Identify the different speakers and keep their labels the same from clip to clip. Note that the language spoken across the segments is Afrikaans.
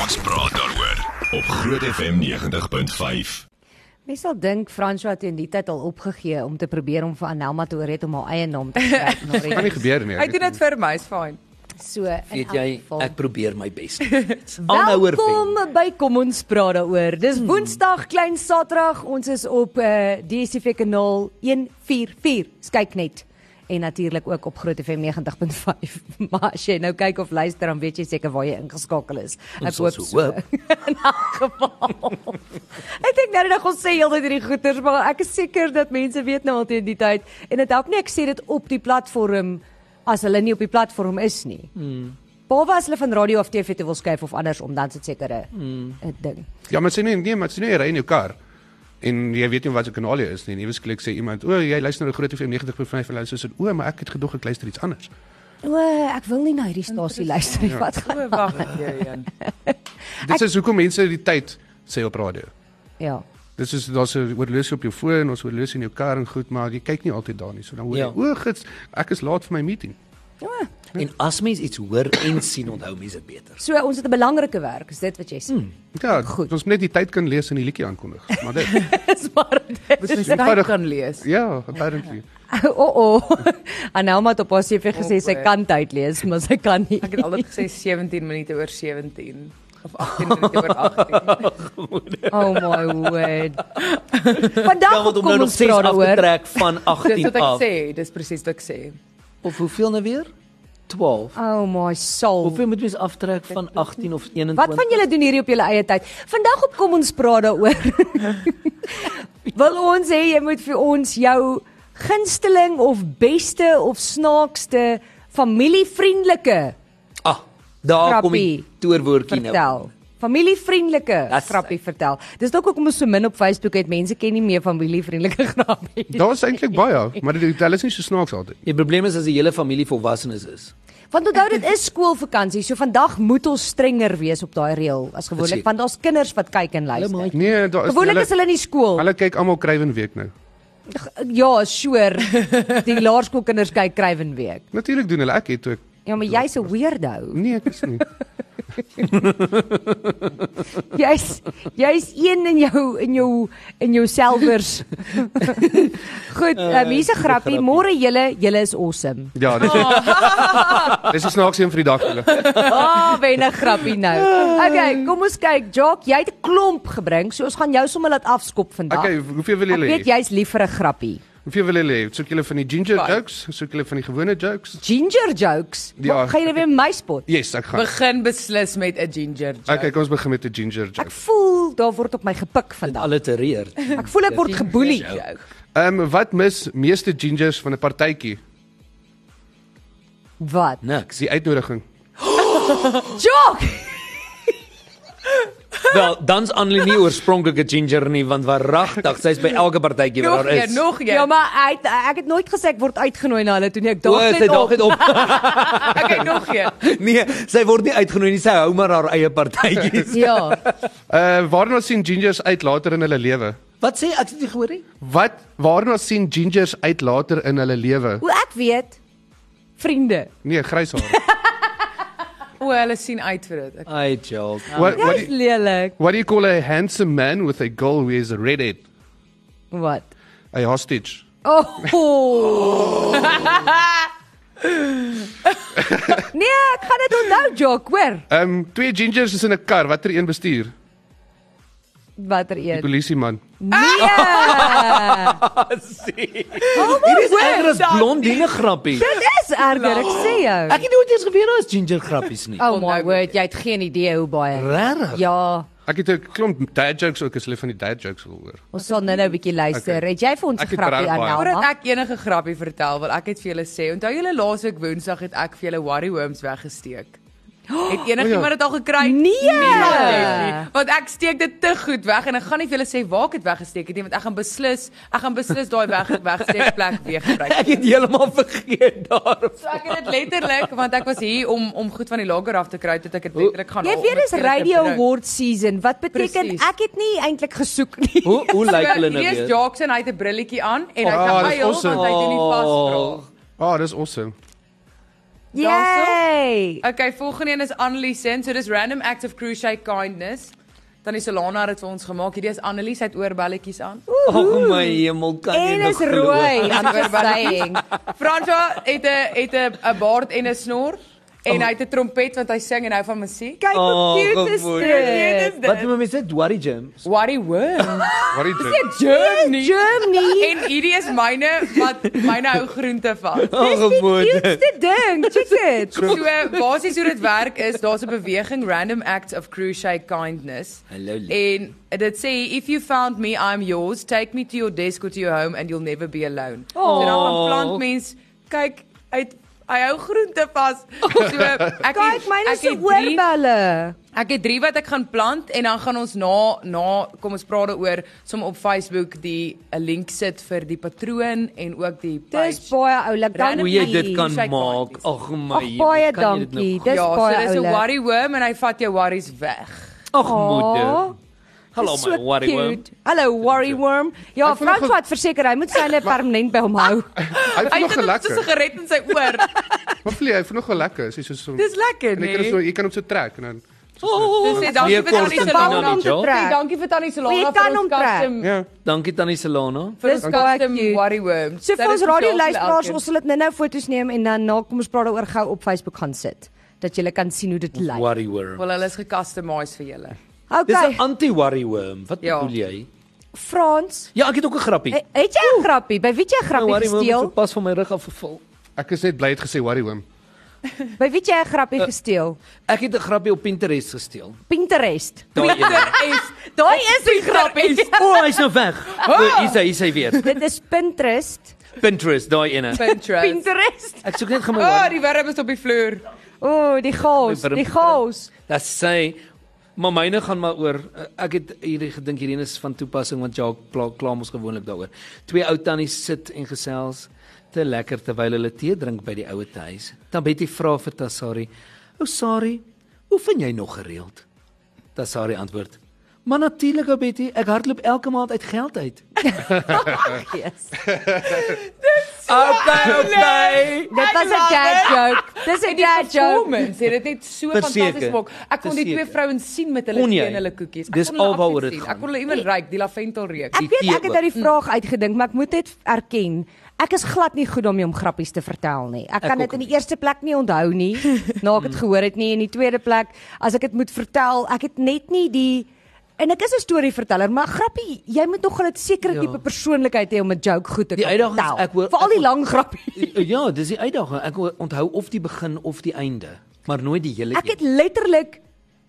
Speaker 1: Ons praat daaroor op Groot FM 90.5.
Speaker 2: Mens sal dink François het in die tyd al opgegee om te probeer om vir Anelma te ooreed om haar eie naam te skryf na
Speaker 3: Kan nie
Speaker 2: Reddit.
Speaker 3: gebeur nie.
Speaker 4: Hy doen dit vir my, is fyn.
Speaker 2: So in
Speaker 5: Weet
Speaker 2: elk
Speaker 5: jy,
Speaker 2: geval.
Speaker 5: ek probeer my bes. Aanhouer Hmm. wen.
Speaker 2: Welkom by Kom ons praat daaroor. Dis Woensdag, klein Saterdag. Ons is op eh uh, DSTV kanaal 144. Kyk net en natuurlik ook op Groot FM 90.5. Maar as jy nou kyk of luister, dan weet jy seker waar jy ingeskakel is.
Speaker 5: Ons sal so hoop.
Speaker 2: in elk geval. ek dink nou dat ons sê heeltyd hierdie goeters, maar ek is seker dat mense weet nou al teen die tyd en dit help nie ek sê dit op die platform as hulle nie op die platform is nie. Mm. Behalwe as hulle van radio of TV te wil skuif of andersom, dan is dit seker 'n
Speaker 5: Hmm.
Speaker 2: mm. ding.
Speaker 3: Ja, maar sien nie, nee, maar sien jy ry in jou kar en jy weet nie wat se kanaal jy is nie. En ewe skielik sê iemand, "O, jy luister na Groot FM 90.5." En hulle sê, "O, maar ek het gedog ek luister iets anders."
Speaker 2: O, ek wil nie na hierdie stasie luister
Speaker 5: Ja.
Speaker 2: nie. Wat gaan?
Speaker 4: O, wag jy een.
Speaker 3: Dit is hoekom mense die tyd sê op radio.
Speaker 2: Ja.
Speaker 3: Dis is daar's 'n oorlosie op jou foon, ons oorlosie in jou kar en goed, maar jy kyk nie altyd daar nie. So dan hoor jy,
Speaker 5: Ja.
Speaker 3: "O, gits, ek is laat vir my meeting."
Speaker 2: Ja.
Speaker 5: En as mens iets hoor en sien, onthou mens dit beter.
Speaker 2: So ons het 'n belangrike werk, is dit wat jy sê?
Speaker 5: Hmm.
Speaker 2: Mm.
Speaker 3: Ja,
Speaker 2: Goed.
Speaker 3: goed. ons moet net die tyd kan lees en die liedjie aankondig. Maar dit
Speaker 2: Dis maar dit.
Speaker 4: Dis mens
Speaker 3: eenvoudig.
Speaker 4: tyd kan lees.
Speaker 3: ja, apparently.
Speaker 2: O o. Anelma het op haar CV gesê sy
Speaker 5: Oh,
Speaker 4: boy.
Speaker 2: kan tyd lees, maar sy kan nie.
Speaker 4: Ek het altyd gesê 17 minute oor 17 of 18 minute oor 18.
Speaker 2: Oh my word. Vandag
Speaker 5: Ja, want om
Speaker 2: kom
Speaker 5: nou nog
Speaker 2: ons
Speaker 5: 6
Speaker 2: praat
Speaker 5: af te
Speaker 2: daaroor.
Speaker 5: trek van
Speaker 4: Dis
Speaker 5: 18
Speaker 4: wat ek
Speaker 5: af.
Speaker 4: sê, dis presies wat ek sê.
Speaker 5: Of hoeveel nou weer? 12.
Speaker 2: Oh my soul.
Speaker 5: Hoeveel moet mens aftrek van 18 of 21?
Speaker 2: Wat van julle doen hierdie op julle eie tyd? Vandag op kom ons praat daaroor. Wil ons hê jy moet vir ons jou gunsteling of beste of snaakste familievriendelike
Speaker 5: Ah, daar kom die
Speaker 2: Grappie.
Speaker 5: toerwoordjie nou.
Speaker 2: vertel. Familievriendelike
Speaker 5: Dis-
Speaker 2: grappie vertel. Dis dalk hoekom ons so min op Facebook het. Mense ken nie meer familievriendelike grappies.
Speaker 3: Daar's eintlik baie, maar dit hulle is nie so snaaks altyd.
Speaker 5: Die probleem is as die hele familie volwassenes is.
Speaker 2: Want onthou dit is skoolvakansie, so vandag moet ons strenger wees op daai reël as gewoonlik
Speaker 5: Verseker.
Speaker 2: want daar's kinders wat kyk en luister.
Speaker 5: maatjie.
Speaker 3: Nee, daar is
Speaker 2: Gewoonlik is hulle in die skool.
Speaker 3: Hulle kyk almal Kruiven week nou.
Speaker 2: Ja, sure. Die laerskoolkinders kyk Kruiwenweek.
Speaker 3: Natuurlik doen hulle ek het ook.
Speaker 2: Ja, maar jy's 'n weirdo.
Speaker 3: Nee, ek is nie.
Speaker 2: Jy's jy's een in jou in jou in jou selvers. Goed,
Speaker 4: Eh,
Speaker 2: um, hier's 'n grappie. Môre julle, julle is awesome.
Speaker 3: Ja, dis
Speaker 2: Oh.
Speaker 3: Dis is snaaks een vir die dag julle.
Speaker 2: Ah, oh, wen 'n grappie nou.
Speaker 4: Ah.
Speaker 2: Okay, kom ons kyk. Jock, jy het 'n klomp gebring, so ons gaan jou sommer laat afskop vandag.
Speaker 3: Okay, hoeveel wil
Speaker 2: Ek
Speaker 3: julle
Speaker 2: weet
Speaker 3: hê?
Speaker 2: jy's lief vir 'n grappie.
Speaker 3: Hoeveel wil julle hê? Soek julle van die ginger
Speaker 4: Five.
Speaker 3: jokes? Soek julle van die gewone jokes?
Speaker 2: Ginger jokes.
Speaker 3: Ja.
Speaker 2: Ja. Gaan jy weer my spot?
Speaker 3: Yes, ek gaan.
Speaker 4: Begin beslis met 'n ginger joke.
Speaker 3: Okay, kom ons begin met 'n ginger
Speaker 4: Ja.
Speaker 2: Ek
Speaker 3: joke.
Speaker 2: voel daar word op my gepik vandag.
Speaker 5: Allitereer.
Speaker 2: Ek voel ek word geboelie.
Speaker 4: Ja, Ginger joke.
Speaker 3: Ehm um, wat mis meeste gingers van 'n partytjie?
Speaker 2: Wat?
Speaker 5: Niks.
Speaker 3: Die uitnodiging.
Speaker 2: Jock.
Speaker 5: Wel, dan's Annelie nie oorspronklike ginger nie, want waaragtig, sy's by elke partytjie
Speaker 4: Nog
Speaker 5: waar daar
Speaker 4: een,
Speaker 5: is.
Speaker 4: nog
Speaker 2: Ja,
Speaker 4: een.
Speaker 2: maar hy het- ek het nooit gesê ek word uitgenooi na hulle toe nie. Ek
Speaker 5: O,
Speaker 2: daag
Speaker 5: sy
Speaker 2: net
Speaker 5: dag
Speaker 2: op.
Speaker 5: het op.
Speaker 4: Okay, nog een.
Speaker 5: Nee, sy word nie uitgenooi nie, sy hou maar haar eie partytjies.
Speaker 2: Ja.
Speaker 3: Uh waarna sien gingers uit later in hulle lewe?
Speaker 5: Wat sê ek het dit nie gehoor nie?
Speaker 3: Wat waarna sien gingers uit later in hulle lewe?
Speaker 2: Hoe ek weet. Vriende.
Speaker 3: Nee, grys haar.
Speaker 4: O, hulle sien uit vir dit. Ek
Speaker 5: Ai, Charles.
Speaker 3: What what do
Speaker 2: Dis
Speaker 3: you,
Speaker 2: lelik.
Speaker 3: what do you call a handsome man with a girl who is a redhead?
Speaker 2: Wat?
Speaker 3: A hostage.
Speaker 2: Oh. nee, ek gaan dit onthou, Jock, hoor.
Speaker 3: Ehm um, twee gingers is in 'n kar, watter een bestuur?
Speaker 2: Watter een?
Speaker 3: Polisieman.
Speaker 2: Nee.
Speaker 5: Hier is eerder 'n blondine grappie.
Speaker 2: Dit is erger, ek sê jou.
Speaker 5: Ek het nooit eens geweet daar is ginger grappies nie.
Speaker 2: Oh my word, jy het geen idee hoe baie.
Speaker 5: Regtig?
Speaker 2: Ja,
Speaker 3: Ek het 'n klomp dad jokes ook as hulle van die dad jokes wil hoor.
Speaker 2: ons sal nou-nou 'n bietjie luister.
Speaker 3: Okay.
Speaker 2: Okay. Het jy vir ons 'n
Speaker 3: Ek het
Speaker 2: grappie
Speaker 3: regtig baie.
Speaker 2: aan
Speaker 4: Voordat
Speaker 2: nou?
Speaker 4: ek enige grappie vertel, wil ek net vir julle sê, onthou julle laasweek Woensdag het ek vir julle worry worms weggesteek. Het
Speaker 3: O ja.
Speaker 4: enigiemand dit al gekry? Niemand het nie,
Speaker 2: Nee.
Speaker 4: Want ek steek dit te goed weg en ek gaan nie vir julle sê waar ek dit weggesteek het nie, want ek gaan beslis, ek gaan beslis daai weg wegsteekplek weer gebruik.
Speaker 5: Ek het heeltemal vergeet daarvan.
Speaker 4: So ek het dit letterlik want ek was hier om om goed van die lager af te kry tot ek dit letterlik gaan
Speaker 2: Jy weet dis Radio Award season. Wat beteken
Speaker 4: Presies.
Speaker 2: ek het nie eintlik gesoek nie.
Speaker 5: Hoe hoe lyk hulle nou
Speaker 4: Hier is
Speaker 5: weer?
Speaker 4: Jackson, hy het 'n
Speaker 2: Oh,
Speaker 4: brilletjie aan en hy
Speaker 3: Ah,
Speaker 4: het
Speaker 3: dis
Speaker 4: 'n huil want
Speaker 3: awesome.
Speaker 4: hy het nie vasvra.
Speaker 5: Oh.
Speaker 3: Ah, oh, dis awesome.
Speaker 2: Yay!
Speaker 4: Okay, volgende een is Annelies en so dis random act of crochet kindness. Dan is Solana het dit vir ons gemaak. Hierdie is Annelies het oorbelletjies aan.
Speaker 5: Oh my hemel, kan jy
Speaker 2: En
Speaker 5: nog
Speaker 2: is
Speaker 5: glo?
Speaker 2: rooi, I'm just saying.
Speaker 4: Franswa het 'n het 'n 'n baard en 'n snor en
Speaker 2: Oh.
Speaker 4: hy het 'n trompet want hy sing en hou van musiek.
Speaker 2: Kyk
Speaker 5: Oh,
Speaker 2: hoe cute is
Speaker 5: gevoel.
Speaker 2: dit.
Speaker 5: Wat noem mense dit? Dwarry gems.
Speaker 4: What he word.
Speaker 3: Wat die ding?
Speaker 4: Journey.
Speaker 2: Germany.
Speaker 4: En hierdie is myne wat myne hou groente van.
Speaker 5: Oh
Speaker 2: Cute dit ding. Check dit.
Speaker 4: So basies hoe dit werk is, daar's 'n beweging random acts of crochet kindness.
Speaker 5: Hallo, lief.
Speaker 4: En dit sê if you found me I'm yours, take me to your desk or to your home and you'll never be alone. So dan gaan
Speaker 5: Oh.
Speaker 4: plant mens kyk uit hy hou groente vas. So ek
Speaker 2: Kyk, myne
Speaker 4: ek
Speaker 2: is 'n
Speaker 4: het drie-
Speaker 2: oorbelle.
Speaker 4: Ek het drie wat ek gaan plant en dan gaan ons na na kom ons praat daaroor som op Facebook die 'n link sit vir die patroon en ook die page.
Speaker 2: Dis baie oulik. Dan
Speaker 5: Hoe jy dit kan
Speaker 4: Shake
Speaker 5: maak.
Speaker 4: parties.
Speaker 5: Ag my.
Speaker 2: Ag baie dankie.
Speaker 5: nou-
Speaker 2: Dis
Speaker 4: ja,
Speaker 2: baie
Speaker 4: so dis 'n
Speaker 2: oulik.
Speaker 4: worry worm en hy vat jou worries weg.
Speaker 5: Ag moeder.
Speaker 2: Oh,
Speaker 5: eh. Hallo
Speaker 2: dis
Speaker 5: my
Speaker 2: so
Speaker 5: worry worm.
Speaker 2: cute. Hallo worry worm. Ja,
Speaker 3: Ek voel nog
Speaker 2: Frans wat verseker hy moet syne permanent by hom hou.
Speaker 3: Hy
Speaker 4: Hy
Speaker 3: voel
Speaker 4: het
Speaker 3: nog
Speaker 4: net so
Speaker 3: lekker.
Speaker 4: 'n sigaret in sy oor.
Speaker 3: Maar vlie, hy voel nog lekker. Dis so so.
Speaker 4: Dis lekker,
Speaker 3: En jy kan
Speaker 4: nee.
Speaker 3: so jy kan hom so trek en dan
Speaker 4: Dis sê dankie
Speaker 5: Meer
Speaker 4: vir tannie
Speaker 5: kos dan
Speaker 2: Tannie
Speaker 4: Solana.
Speaker 2: Naledi, Jo.
Speaker 4: Sê dankie vir tannie
Speaker 2: Wie
Speaker 4: Solana
Speaker 2: kan
Speaker 4: vir
Speaker 2: hom
Speaker 4: ons
Speaker 2: trek?
Speaker 4: custom
Speaker 3: ja.
Speaker 5: Dankie tannie Solano.
Speaker 4: vir ons
Speaker 2: Dis baie
Speaker 4: custom
Speaker 2: cute.
Speaker 4: worry worm.
Speaker 2: So vir
Speaker 4: Dit is
Speaker 2: ons
Speaker 4: spesiaal
Speaker 2: radio
Speaker 4: vir
Speaker 2: luisteraars,
Speaker 4: elkeen.
Speaker 2: ons sal dit nou-nou foto's neem en dan na kom ons praat daaroor gou op Facebook gaan sit dat julle kan sien hoe dit lyk.
Speaker 5: Worry worm.
Speaker 4: wel hulle is gekustomise vir julle.
Speaker 5: Dis 'n
Speaker 2: Okay,
Speaker 5: anti-worry worm. Wat
Speaker 4: Ja.
Speaker 5: bedoel jy?
Speaker 2: Frans,
Speaker 5: Ja, ek het ook 'n grappie.
Speaker 2: he- het jy 'n grappie? By wie het jy 'n
Speaker 5: My
Speaker 2: grappie
Speaker 5: worry worm het
Speaker 2: gesteel?
Speaker 5: pas van my rug af geval.
Speaker 3: Ek is net bly het gesê worry hom.
Speaker 2: By wie het jy 'n grappie
Speaker 5: Eh.
Speaker 2: gesteel?
Speaker 5: Ek het 'n grappie op Pinterest gesteel.
Speaker 2: Pinterest.
Speaker 5: Daai een.
Speaker 4: Is
Speaker 2: Daai is 'n grappie.
Speaker 5: O, hy's nou weg. O, hier's hy, hier's hy weer.
Speaker 2: Dit is Pinterest.
Speaker 5: Pinterest, daai een.
Speaker 4: Pinterest.
Speaker 2: Pinterest.
Speaker 5: Ek soek net gemaak.
Speaker 4: Oh, die worm is op die vloer.
Speaker 2: O, die chaos, die chaos.
Speaker 5: Dat sê maar myne gaan maar oor eh, ek het hierdie gedink hierdie een is van toepassing want ja, kla, klaam ons gewoonlik daaroor. Twee ou tannies sit en gesels te lekker terwyl hulle tee drink by die ouete huis. Tabetty vra vir Tasari: "Ou Sari, oefen jy nog gereeld?" Tasari antwoord: "Maar natuurlik, ou Betty, ek hardloop elke maand uit geld uit."
Speaker 2: Yes.
Speaker 5: Okay, okay.
Speaker 2: Dit was 'n dad joke. Dis 'n dad joke.
Speaker 4: Performance, dit het net so
Speaker 5: Verseker.
Speaker 4: fantasties maak. Ek kon die twee
Speaker 5: Verseker.
Speaker 4: vrouens sien met hulle
Speaker 5: Kon jy?
Speaker 4: teen hulle koekies. Ek
Speaker 5: Dis
Speaker 4: kon hulle
Speaker 5: al waaroor
Speaker 4: outfits
Speaker 5: dit
Speaker 4: sien.
Speaker 5: gaan.
Speaker 4: Ek kon hulle iemand ruik, die laventel reuk.
Speaker 5: Die
Speaker 2: Ek weet
Speaker 5: tee
Speaker 2: ek het
Speaker 5: ook.
Speaker 2: uit die vraag uitgedink, maar ek moet net erken, ek is glad nie goed daarmee om grappies te vertel nie. Ek kan
Speaker 5: ook
Speaker 2: dit in die eerste plek nie onthou nie, na ek dit gehoor het nie en in die tweede plek as ek dit moet vertel, ek het net nie die en ek is 'n storieverteller, maar grappie, jy moet nog 'n sekere
Speaker 5: Ja.
Speaker 2: tipe persoonlikheid hê om 'n joke goed te
Speaker 5: Die
Speaker 2: kan
Speaker 5: uitdaging is,
Speaker 2: vertel.
Speaker 5: ek hoor-
Speaker 2: Veral
Speaker 5: ek
Speaker 2: die
Speaker 5: hoor-
Speaker 2: lang grappie.
Speaker 5: Ja, dis die uitdaging. Ek onthou of die begin of die einde, maar nooit die hele
Speaker 2: Ek het letterlik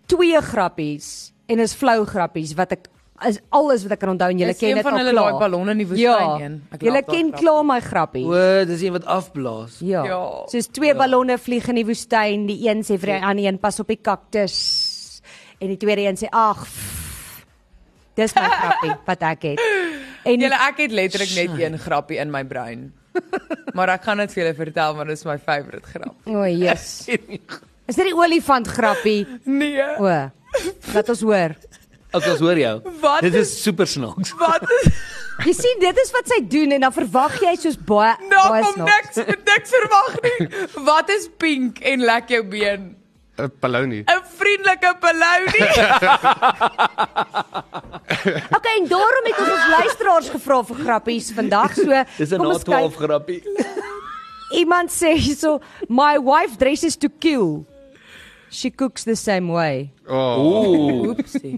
Speaker 2: twee grappies en is flou grappies wat ek is alles wat ek kan onthou en julle
Speaker 4: Is
Speaker 2: ken
Speaker 4: een
Speaker 2: dit
Speaker 4: van
Speaker 2: al
Speaker 4: hulle
Speaker 2: klaar.
Speaker 4: daai ballon in die woestyn een?
Speaker 2: Ja,
Speaker 4: Ek
Speaker 2: julle
Speaker 4: love daai
Speaker 2: ken
Speaker 4: grappie.
Speaker 2: klaar my grappie.
Speaker 5: O, dis een wat afblaas.
Speaker 2: Ja.
Speaker 4: Ja.
Speaker 2: Soos twee ballonne vlieg in die woestyn, die een sê vir die ander een pas op die kaktus en die tweede een sê ag. pff." Dis my grappie wat ek het. En
Speaker 4: Julle ek het letterlik net een grappie in my brein. maar ek gaan dit vir julle vertel want dit is my favourite grap.
Speaker 2: o, oh, yes. Is dit die olifant grappie?
Speaker 4: Nee.
Speaker 2: O. Laat ons hoor.
Speaker 5: Ek ons hoor jou.
Speaker 4: Wat
Speaker 5: Dit is super snaaks.
Speaker 4: Wat is
Speaker 2: Jy sien dit is wat sy doen en dan verwag jy soos baie
Speaker 4: daar
Speaker 2: baie
Speaker 4: Nou kom
Speaker 2: snaaks.
Speaker 4: niks, niks verwag nie. Wat is pink en lek jou been?
Speaker 3: 'n Ballonie.
Speaker 4: 'n Vriendelike beloudie.
Speaker 2: Okay, en daarom het ons ons luisteraars gevra vir grappies vandag. So
Speaker 5: Dis 'n
Speaker 2: kom ons kyk.
Speaker 5: na-12 grappie.
Speaker 2: Iemand sê hierso, "My wife dresses to kill. She cooks the same way."
Speaker 3: O,
Speaker 5: Ooh.
Speaker 4: Oepsie.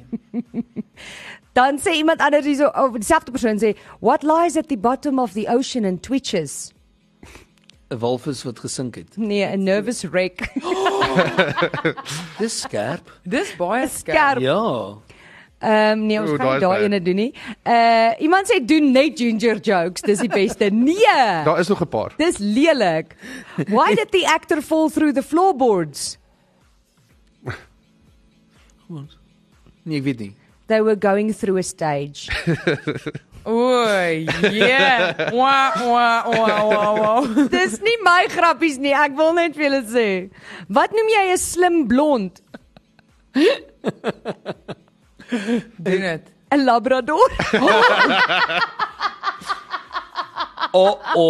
Speaker 2: Dan sê iemand anders hierso, oh, dieselfde persoon sê, "What lies at the bottom of the ocean and twitches?"
Speaker 5: 'n Walvis wat gesink het.
Speaker 2: Nee, 'n nervous wreck.
Speaker 5: Dis skerp.
Speaker 4: Dis baie skerp.
Speaker 2: Skerp.
Speaker 5: Ja.
Speaker 2: Ehm um, nee, ons
Speaker 3: Oeh,
Speaker 2: gaan nie
Speaker 3: daai is
Speaker 2: daai
Speaker 3: baie.
Speaker 2: ene doen nie. Uh iemand sê doen net ginger jokes, dis die beste. Nee.
Speaker 3: daar is nog 'n paar.
Speaker 2: Dis lelik. Why did the actor fall through the floorboards?
Speaker 5: Nee, ek weet nie.
Speaker 2: They were going through a stage.
Speaker 4: Oei, yeah. Wa wa wa wa wa.
Speaker 2: Dis nie my grappies nie, ek wil net vir julle sê. Wat noem jy 'n slim blond?
Speaker 4: Doen dit.
Speaker 2: 'n Labrador?
Speaker 5: O, o.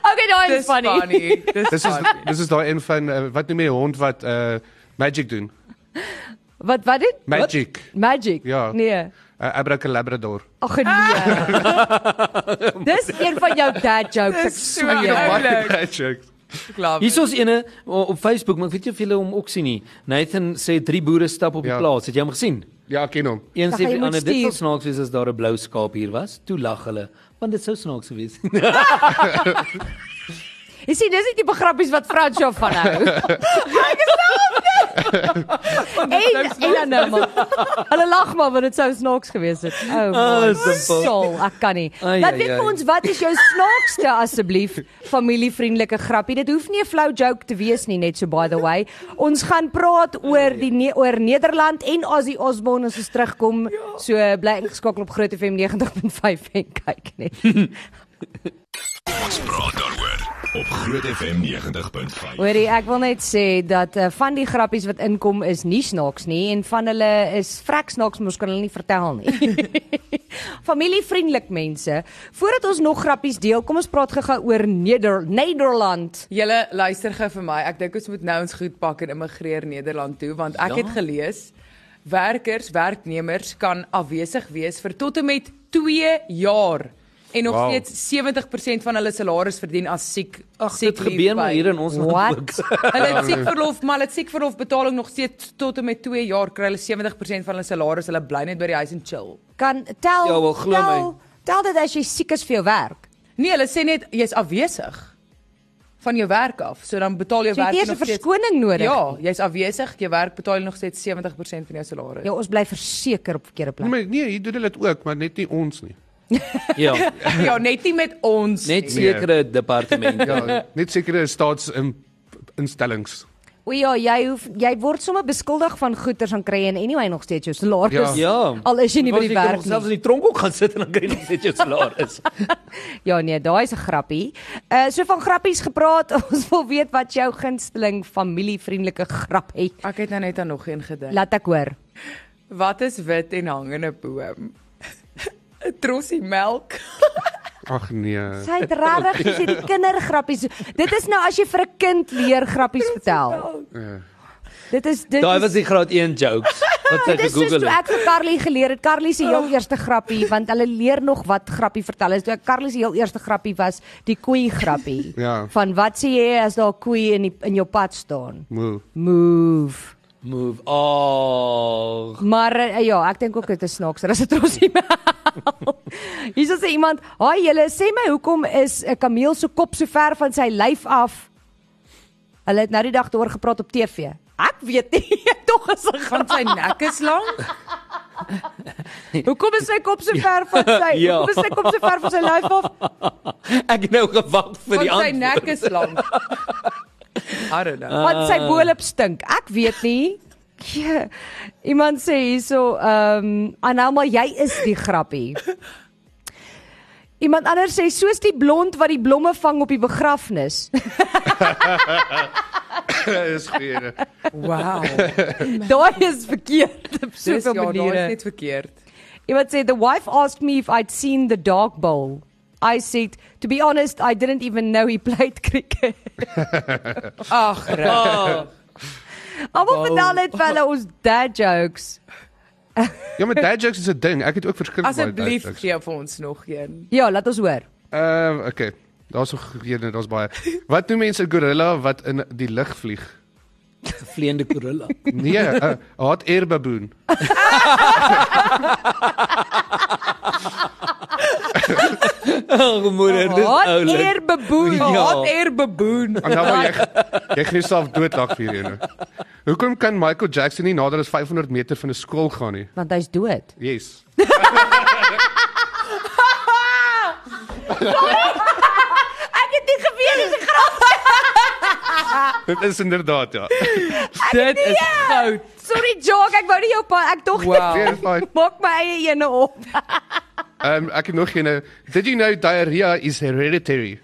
Speaker 2: Okay, daai
Speaker 4: Dis
Speaker 2: is funny.
Speaker 4: funny. Dis
Speaker 3: Dis is dis is daai een van uh, wat noem jy 'n hond wat uh magic doen?
Speaker 2: Wat wat dit?
Speaker 3: Magic.
Speaker 2: Magic.
Speaker 3: Ja.
Speaker 2: Nee.
Speaker 3: Uh, Abracalabrador.
Speaker 2: Ag nee. Dis een van jou dad jokes. Ek
Speaker 4: Dis so
Speaker 2: sweer.
Speaker 4: leuk. Oulik.
Speaker 3: magic.
Speaker 4: klap.
Speaker 5: Hier is ons ene o- op Facebook, maar ek weet nie of julle hom ook sien nie. Nathan sê drie boere stap op die
Speaker 3: Ja.
Speaker 5: ja. plaas. Het jy hom gesien?
Speaker 3: Ja, ek ken hom.
Speaker 5: Een
Speaker 2: Ag,
Speaker 5: sê
Speaker 2: jy
Speaker 5: vir die
Speaker 2: moet
Speaker 5: ander dit sou
Speaker 2: stuur."
Speaker 5: snaaks wees as daar 'n blou skaap hier was. Toe lag hulle, want dit sou snaaks wees.
Speaker 2: Jy sien, dis nie die begrappies wat Fransjo van hou. Ek self. nou En en nou maar. Hulle lag maar want dit sou snaaks gewees het. Oh,
Speaker 5: Ah,
Speaker 2: my
Speaker 5: simpel.
Speaker 2: soul, ek kan nie.
Speaker 5: Ai,
Speaker 2: Laat
Speaker 5: ai,
Speaker 2: weet vir
Speaker 5: ai.
Speaker 2: ons wat is jou snaakste asseblief familievriendelike grappie. Dit hoef nie 'n flou joke te wees nie, net so by the way. Ons gaan praat oor die ne oor Nederland en Ozzy Osbourne as ons terugkom. So bly ingeskakel op Groot FM 90.5 en kyk net.
Speaker 1: Ons praat daaroor op Groot FM 90.5.
Speaker 2: Hoorie, ek wil net sê dat uh, van die grappies wat inkom is nie snaaks nie en van hulle is vrek snaaks, maar ons kan hulle nie vertel nie. Familievriendelik mense. Voordat ons nog grappies deel, kom ons praat gou-gou oor Neder Nederland.
Speaker 4: Julle luister gou vir my. Ek dink ons moet nou ons goed pak en immigreer Nederland toe want ek
Speaker 5: Ja.
Speaker 4: ja. het gelees werkers, werknemers kan afwesig wees vir tot en met 2 jaar en nog
Speaker 3: Wow.
Speaker 4: wow. steeds 70% van hulle salaris verdien as siek
Speaker 5: Ag,
Speaker 4: siek
Speaker 5: dit gebeur maar hier in Ja. ons land
Speaker 2: What?
Speaker 5: ook.
Speaker 4: Hulle het siekverlof, maar hulle het siekverlof betaling nog steeds tot en met 2 jaar kry hulle 70% van hulle salaris. Hulle bly net by die huis en chill.
Speaker 2: Kan tel
Speaker 5: Ja, wel, glo
Speaker 2: tel,
Speaker 5: my.
Speaker 2: Tel dit as jy siek is vir jou werk.
Speaker 4: Nee, hulle sê net jy's afwesig van jou werk af. So dan betaal jou
Speaker 2: So jy het
Speaker 4: werk
Speaker 2: eers 'n verskoning nodig.
Speaker 4: Ja, jy's afwesig, jou werk betaal nog steeds 70% van jou salaris.
Speaker 2: Ja, ons bly verseker op verkeerde plek.
Speaker 3: Nee, maar nee, hier doen hulle dit ook, maar net nie ons nie.
Speaker 5: Ja,
Speaker 4: ja, net nie met ons
Speaker 5: net
Speaker 4: nie.
Speaker 5: sekere departemente.
Speaker 3: Nee. Ja, net sekere staats in, instellings.
Speaker 2: O ja, jy hoef jy word sommer beskuldig van goeters en kry en anyway nog steeds jou salaris.
Speaker 5: Ja.
Speaker 2: Al is jy nie by die
Speaker 5: Jy kan nog
Speaker 2: werk nie.
Speaker 5: Selfs in die tronk ook gaan sit en dan kry jy nog steeds jou salaris.
Speaker 2: Ja nee, daai is 'n grappie. Uh so van grappies gepraat, ons wil weet wat jou gunsteling familievriendelike grap is.
Speaker 4: Ek het nou net aan nog een gedink.
Speaker 2: Laat ek hoor.
Speaker 4: Wat is wit en hang in 'n boom? 'n Trossie melk.
Speaker 3: Ag nee.
Speaker 2: Sy het regtig gesê die kindergrappies. Dit is nou as jy vir 'n kind leer grappies vertel.
Speaker 3: Ja.
Speaker 2: Dit is dit.
Speaker 5: Daai
Speaker 2: is-
Speaker 5: was die graad 1 jokes wat sy
Speaker 2: Dit is soos
Speaker 5: gegoogel
Speaker 2: toe
Speaker 5: het.
Speaker 2: ek vir Carly geleer het. Carly se heel eerste grappie want hulle leer nog wat grappie vertel is. Toe ek Carly se heel eerste grappie was die koei grappie.
Speaker 3: Ja.
Speaker 2: Van wat sê jy as daar 'n koei in die, in jou pad staan?
Speaker 3: Moe.
Speaker 2: Move.
Speaker 5: Move. Oh.
Speaker 2: Maar eh, ja, ek dink ook dit is snaaks. Daar is 'n trosie. Hier sê iemand, "Haai julle, sê my hoekom is 'n kameel so kop so ver van sy lyf af?" Hulle het nou die dag daaroor gepraat op TV. Ek weet nie, tog is 'n
Speaker 4: Van
Speaker 2: grap.
Speaker 4: sy nek is lank.
Speaker 2: Hoekom is sy kop so ver van sy?
Speaker 5: Ja.
Speaker 2: Hoekom is sy kop so ver van sy lyf af?
Speaker 5: Ek het nou gewag vir
Speaker 4: Van
Speaker 5: die
Speaker 4: sy
Speaker 5: antwoord.
Speaker 4: nek is Ah. lank. I don't know.
Speaker 2: Want sy boelop stink. Ek weet nie. Ja. Iemand sê hierso, ehm, um, Anelma, jy is die grappie. Iemand anders sê soos die blond wat die blomme vang op die begrafnis.
Speaker 3: Dis goeie.
Speaker 4: Wow.
Speaker 2: Daai is verkeerd op
Speaker 4: Dis ja,
Speaker 2: soveel
Speaker 4: daai is
Speaker 2: maniere.
Speaker 4: net verkeerd.
Speaker 2: Iemand sê the wife asked me if I'd seen the dark bowl. I said, to be honest, I didn't even know he played cricket.
Speaker 4: Ag, reg.
Speaker 2: Almal vertel net vir hulle ons dad jokes.
Speaker 3: Ja, maar dad jokes is 'n ding. Ek het ook verskriklik baie dad
Speaker 4: asseblief
Speaker 3: jokes.
Speaker 4: gee vir ons nog een.
Speaker 2: Ja, laat ons hoor.
Speaker 3: Ehm, okay. Daar's nog hierne, daar's baie. Wat noem mense 'n gorilla wat in die lug vlieg?
Speaker 5: Gevleende gorilla.
Speaker 3: Nee, 'n hot air baboon.
Speaker 5: Ag moeder, dis
Speaker 2: Wat
Speaker 5: oulik.
Speaker 2: eer beboer.
Speaker 5: Ja.
Speaker 4: Wat eer baboon.
Speaker 3: En nou maar jy jy gaan jouself doodlag vir hierne. Hoekom kan Michael Jackson nie nader as 500 meter van 'n skool gaan nie?
Speaker 2: Want hy's dood.
Speaker 3: Yes.
Speaker 2: Ek het nie geweet dis 'n grap.
Speaker 3: Dit is inderdaad ja.
Speaker 5: Dit is
Speaker 2: Goud. Sorry joke, ek wou nie jou pa, ek tog
Speaker 4: Wow.
Speaker 3: Weer fyn.
Speaker 2: maak my eie ene op.
Speaker 3: Ehm ek het nog hierne. Did you know diarrhea is hereditary?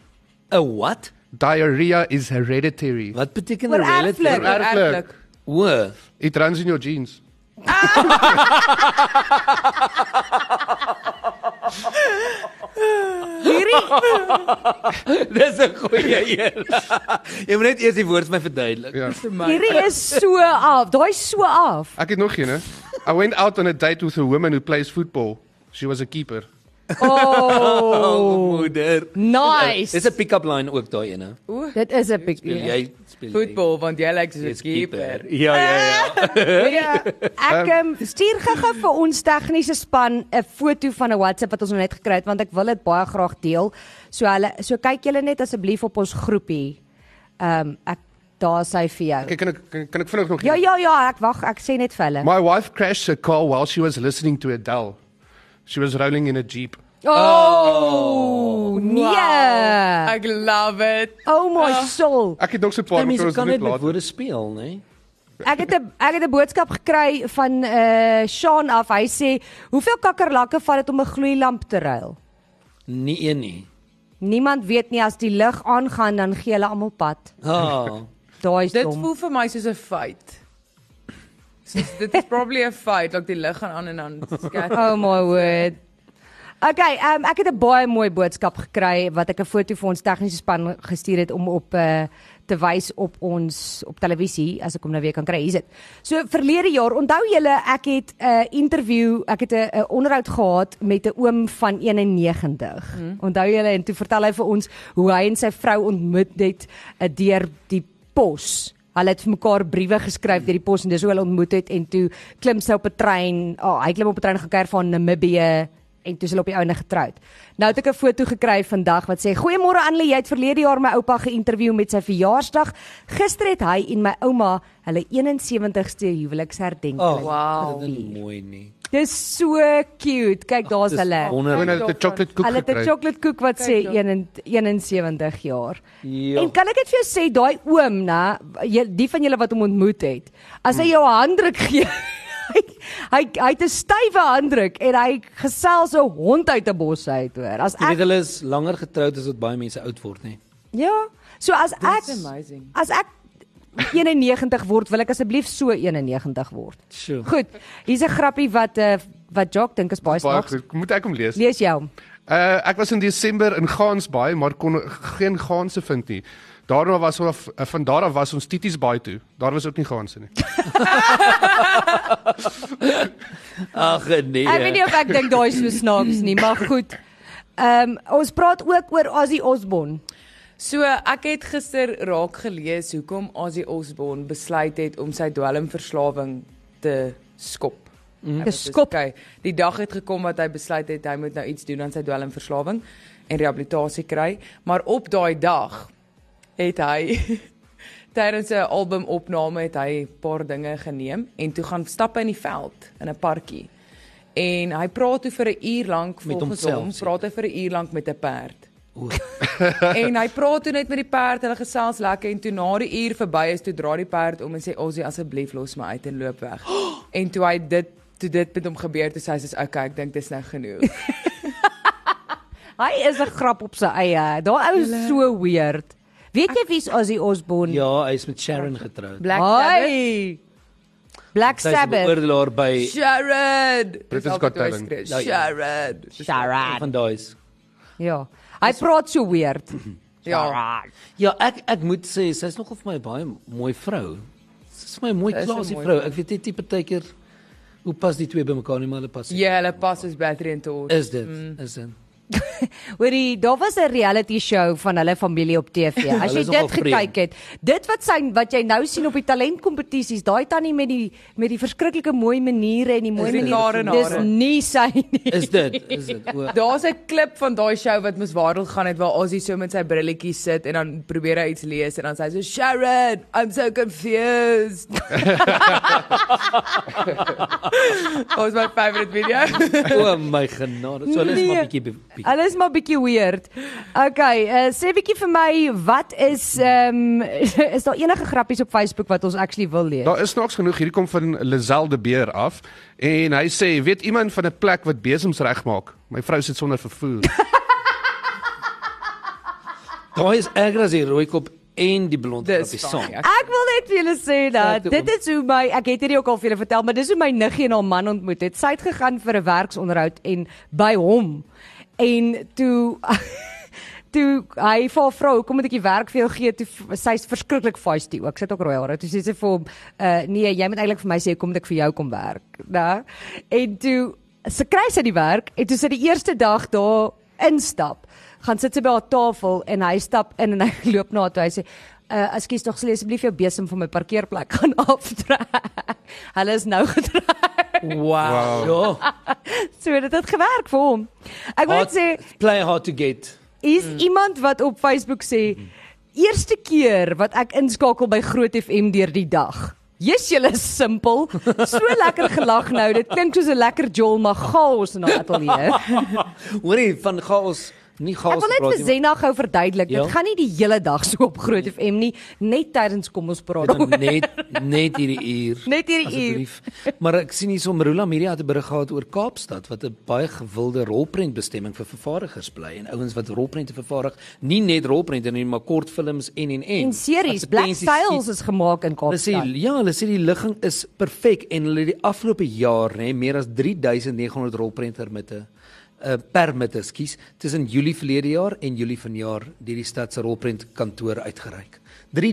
Speaker 5: 'n what?
Speaker 3: Diarrhea is hereditary.
Speaker 5: Wat beteken 'n
Speaker 2: Oor erflik.
Speaker 5: relative?
Speaker 3: Erflik.
Speaker 5: O.
Speaker 3: It runs in your genes.
Speaker 2: Hierdie
Speaker 5: Dis 'n goeie een. jy moet net eers die woord vir my verduidelik.
Speaker 3: Ja.
Speaker 2: hierdie is so af. Daai is so af.
Speaker 3: Ek het nog een. hè. I went out on a date with a woman who plays football. She was a keeper.
Speaker 2: Oh,
Speaker 5: moeder.
Speaker 2: nice.
Speaker 5: Dis 'n pick-up line ook daai ene.
Speaker 2: Dit is 'n
Speaker 5: Speel
Speaker 2: bietjie.
Speaker 5: jy speel jy-
Speaker 4: Voetbal want jy lyk soos 'n
Speaker 5: jy's
Speaker 4: keeper.
Speaker 5: Ja ja ja.
Speaker 2: Ek um, stuur gou-gou vir ons tegniese span 'n foto van 'n WhatsApp wat ons nou net gekry het want ek wil dit baie graag deel. So hulle so kyk julle net asseblief op ons groepie. Ehm um, ek daar sy vir jou.
Speaker 3: Kyk, kan ek kan, kan ek vinnig nog
Speaker 2: Ja ja ja, ek wag, ek sê net vir hulle.
Speaker 3: My wife crashed her car while she was listening to Adele. She was rolling in a Jeep.
Speaker 2: Oh, nee.
Speaker 4: Ek love it.
Speaker 2: Oh my
Speaker 4: Ah.
Speaker 2: soul.
Speaker 3: Ek het nog so 'n paar
Speaker 5: Party
Speaker 3: maar
Speaker 5: mense
Speaker 3: ons
Speaker 5: kan
Speaker 3: doen
Speaker 5: net
Speaker 3: dit
Speaker 5: met
Speaker 3: later.
Speaker 5: woorde speel, né?
Speaker 2: Ek het 'n ek het 'n boodskap gekry van eh uh, Sean af. Hy sê, "Hoeveel kakkerlakke vat dit om 'n gloeilamp te ruil?"
Speaker 5: Nie een nie.
Speaker 2: Niemand weet nie as die lig aangaan dan gee hulle almal pad.
Speaker 5: Ah.
Speaker 2: Daai is
Speaker 4: Dit
Speaker 2: dom.
Speaker 4: voel vir my soos 'n fight. Soos dit is probably 'n fight, like die lig gaan aan en aan skat.
Speaker 2: Oh my word. Okay, um, ek het 'n baie mooi boodskap gekry wat ek 'n foto vir ons tegniese span gestuur het om op uh, te wys op ons op televisie as ek hom nou weer kan kry. Hier's dit. So verlede jaar, onthou julle, ek het 'n uh, onderhoud, ek het 'n uh, onderhoud gehad met 'n oom van 91. Mm. Onthou julle en toe vertel hy vir ons hoe hy en sy vrou ontmoet het uh, deur die pos. Hulle het vir mekaar briewe geskryf deur die pos en dis hoe hulle ontmoet het en toe klim sy op 'n trein. Oh, hy klim op 'n trein gekeer van Namibië en toe is hulle op die ouene getroud. Nou het ek 'n foto gekry vandag wat sê: "Goeiemôre Annelie, jy het verlede jaar my oupa geïnterview met sy verjaarsdag. Gister het hy en my ouma hulle 71ste huweliksherdenking."
Speaker 5: Oh,
Speaker 4: Wow.
Speaker 5: Dit is mooi nie.
Speaker 2: Dis so cute. Kyk, daar's
Speaker 5: Dis
Speaker 2: hulle.
Speaker 3: Hulle
Speaker 5: Wonder.
Speaker 3: het 'n chocolate koek
Speaker 2: Hulle het 'n
Speaker 3: gekry.
Speaker 2: chocolate koek wat sê
Speaker 4: Kyk, ja.
Speaker 2: 1 71 jaar.
Speaker 5: Ja.
Speaker 2: En kan ek dit vir jou sê daai oom nè, jy- die van julle wat hom ontmoet het, as
Speaker 3: Hmm.
Speaker 2: hy jou 'n handdruk gee, hy hy hy het 'n stywe handdruk en hy gesels so hond uit 'n bos uit hoor. As
Speaker 5: Jy weet
Speaker 2: ek
Speaker 5: hulle is langer getroud as wat baie mense oud word, né?
Speaker 2: ja, so as ek
Speaker 4: amazing.
Speaker 2: as ek 91 word, wil ek asseblief so 91 word.
Speaker 5: Sjoe.
Speaker 2: Goed, hier's 'n grappie wat eh, wat Jock dink is baie
Speaker 3: Baie
Speaker 2: snaaks.
Speaker 3: goed. Moet ek hom lees?
Speaker 2: Lees jy hom?
Speaker 3: Uh ek was in Desember in Gaansbaai, maar kon geen gaanse vind nie. Daarna was ons uh, van daar af was ons Titiesbaai toe. Daar was ook nie gaanse nie.
Speaker 5: Ag nee.
Speaker 2: Ek weet nie of ek dink daai is so snaaks nie, maar goed. Ehm um, ons praat ook oor Ozzy Osbourne.
Speaker 4: So ek het gister raak gelees hoekom Ozzy Osbourne besluit het om sy dwelmverslawing te skop.
Speaker 5: Mhm.
Speaker 4: Mm.
Speaker 5: Ja,
Speaker 2: Te skop.
Speaker 4: Okay, die dag het gekom wat hy besluit het hy moet nou iets doen aan sy dwelmverslawing en rehabilitasie kry, maar op daai dag het hy tydens 'n albumopname het hy 'n paar dinge geneem en toe gaan stap hy in die veld in 'n parkie. En hy praat toe vir 'n uur lank
Speaker 5: Met
Speaker 4: volgens
Speaker 5: homself,
Speaker 4: hom,
Speaker 5: seker.
Speaker 4: praat hy vir 'n uur lank met 'n perd. en hy praat toe net met die perd, hulle gesels lekker en toe na die uur verby is, toe draai die perd om en sê Ozzy asseblief los my uit en loop weg. en toe hy dit toe dit met hom gebeur, toe sê hy soos okay, ek dink dis nou genoeg.
Speaker 2: Hy is 'n grap op sy eie. Daai ou is so weird. Weet jy wie's Ozzy Osbourne?
Speaker 5: Ja, hy is met Sharon getroud.
Speaker 4: Black Sabbath.
Speaker 2: Hi. Black
Speaker 5: Sy is 'n
Speaker 2: Sabbath.
Speaker 5: beoordelaar by
Speaker 4: Sharon.
Speaker 3: Britain's
Speaker 4: Dis
Speaker 3: Got
Speaker 4: altyd hoe hy
Speaker 3: Talent.
Speaker 4: skree,
Speaker 5: Ja, ja.
Speaker 4: Sharon.
Speaker 2: Sharon.
Speaker 5: van daai's.
Speaker 2: Ja. Hy praat so weird.
Speaker 4: Ja.
Speaker 5: Ja, ek ek moet sê sy's nogal vir my 'n baie mooi vrou. Sy's vir my 'n mooi
Speaker 4: Sy is 'n
Speaker 5: klasie
Speaker 4: mooi
Speaker 5: vrou. Ek weet net nie partykeer hoe pas die twee bymekaar nie, maar hulle pas.
Speaker 4: Ja, hulle pas soos battery en tot.
Speaker 5: Is dit? Is dit?
Speaker 2: Hoorie, daar was 'n reality show van hulle familie op TV. As jy
Speaker 5: Hulle is nogal
Speaker 2: dit gekyk het, dit wat sy wat jy nou sien op die talentkompetisies, daai tannie met die met die verskriklike mooi maniere en die mooi
Speaker 4: die
Speaker 2: maniere,
Speaker 4: kare en
Speaker 2: dis
Speaker 4: hare.
Speaker 2: nie sy nie.
Speaker 5: Is dit? Is dit? O,
Speaker 4: Daar's 'n klip van daai show wat Ms Wardel gaan het waar Ozzy so met sy brilletjie sit en dan probeer hy iets lees en dan sê hy so Sharon, I'm so confused. Dit was my favorite video.
Speaker 5: o my genade. So hulle is maar
Speaker 2: Nee.
Speaker 5: bietjie bietjie.
Speaker 2: Hulle is maar bietjie weird. Okay, uh, sê bietjie vir my, wat is ehm um, is daar enige grappies op Facebook wat ons actually wil lees?
Speaker 3: Daar is snaaks genoeg, hierdie kom van Lazelle de Beer af en hy sê, weet iemand van 'n plek wat besems regmaak? My vrou sit sonder vervoer.
Speaker 5: Daai is erger as die rooikop en die blonde
Speaker 4: Dis
Speaker 5: op die
Speaker 4: waar,
Speaker 5: son.
Speaker 4: ja.
Speaker 2: Ek wil net vir julle sê dat
Speaker 5: Sterkte,
Speaker 2: dit
Speaker 5: oom.
Speaker 2: is hoe my ek het hierdie ook al vir julle vertel, maar dis hoe my niggie en haar man ontmoet het. Sy het gegaan vir 'n werksonderhoud en by hom en toe toe hy vir haar vra hoekom moet ek die werk vir jou gee? Toe v- sy's verskriklik feisty ook. Sy het ook rooi hare. Toe sê sy vir hom, "Uh nee, jy moet eintlik vir my sê hoekom moet ek vir jou kom werk." Da. En toe sy kry sy die werk en toe sy die eerste dag daar instap, gaan sit sy by haar tafel en hy stap in en hy loop na haar toe. Hy sê, Uh, ekskuus tog sal jy asseblief jou besem van my parkeerplek gaan aftrek. Hulle is nou getrek.
Speaker 4: Wow.
Speaker 5: Ja,
Speaker 2: So dit het gewerk vir hom. Ek wil net
Speaker 5: hard,
Speaker 2: sê
Speaker 5: play hard to get.
Speaker 2: Is
Speaker 5: Mm.
Speaker 2: iemand wat op Facebook sê eerste keer wat ek inskakel by Groot FM deur die dag. Jesus, julle is simpel. So lekker gelag nou. Dit klink soos 'n lekker jol maar chaos in haar ateljee.
Speaker 5: Hoorie van chaos, nie
Speaker 2: Ek
Speaker 5: chaos
Speaker 2: wil net
Speaker 5: praat
Speaker 2: vir
Speaker 5: nie,
Speaker 2: Zena gou verduidelik,
Speaker 5: Ja. Nee.
Speaker 2: dit gaan nie die hele dag so op Groot FM nie, net tydens kom ons praat.
Speaker 5: maar
Speaker 2: oor.
Speaker 5: Net net hierdie uur.
Speaker 2: Net hierdie uur.
Speaker 5: uur. Maar ek sien hierso Marula Media het 'n berig gehad oor Kaapstad wat 'n baie gewilde rolprentbestemming vir vervaardigers bly en ouens wat rolprente vervaardig, nie net rolprente nie, maar kortfilms en en en.
Speaker 2: En series Black
Speaker 5: Advertensies,
Speaker 2: Styles is gemaak in
Speaker 5: Hulle sê
Speaker 2: Kaapstad.
Speaker 5: ja, hulle sê die ligging is perfek en hulle het die afgelope jaar nê meer as 3900 rolprentermitte uh, permitte, skus, tussen Julie verlede jaar en Julie vanjaar deur die stad se rolprentkantoor uitgereik.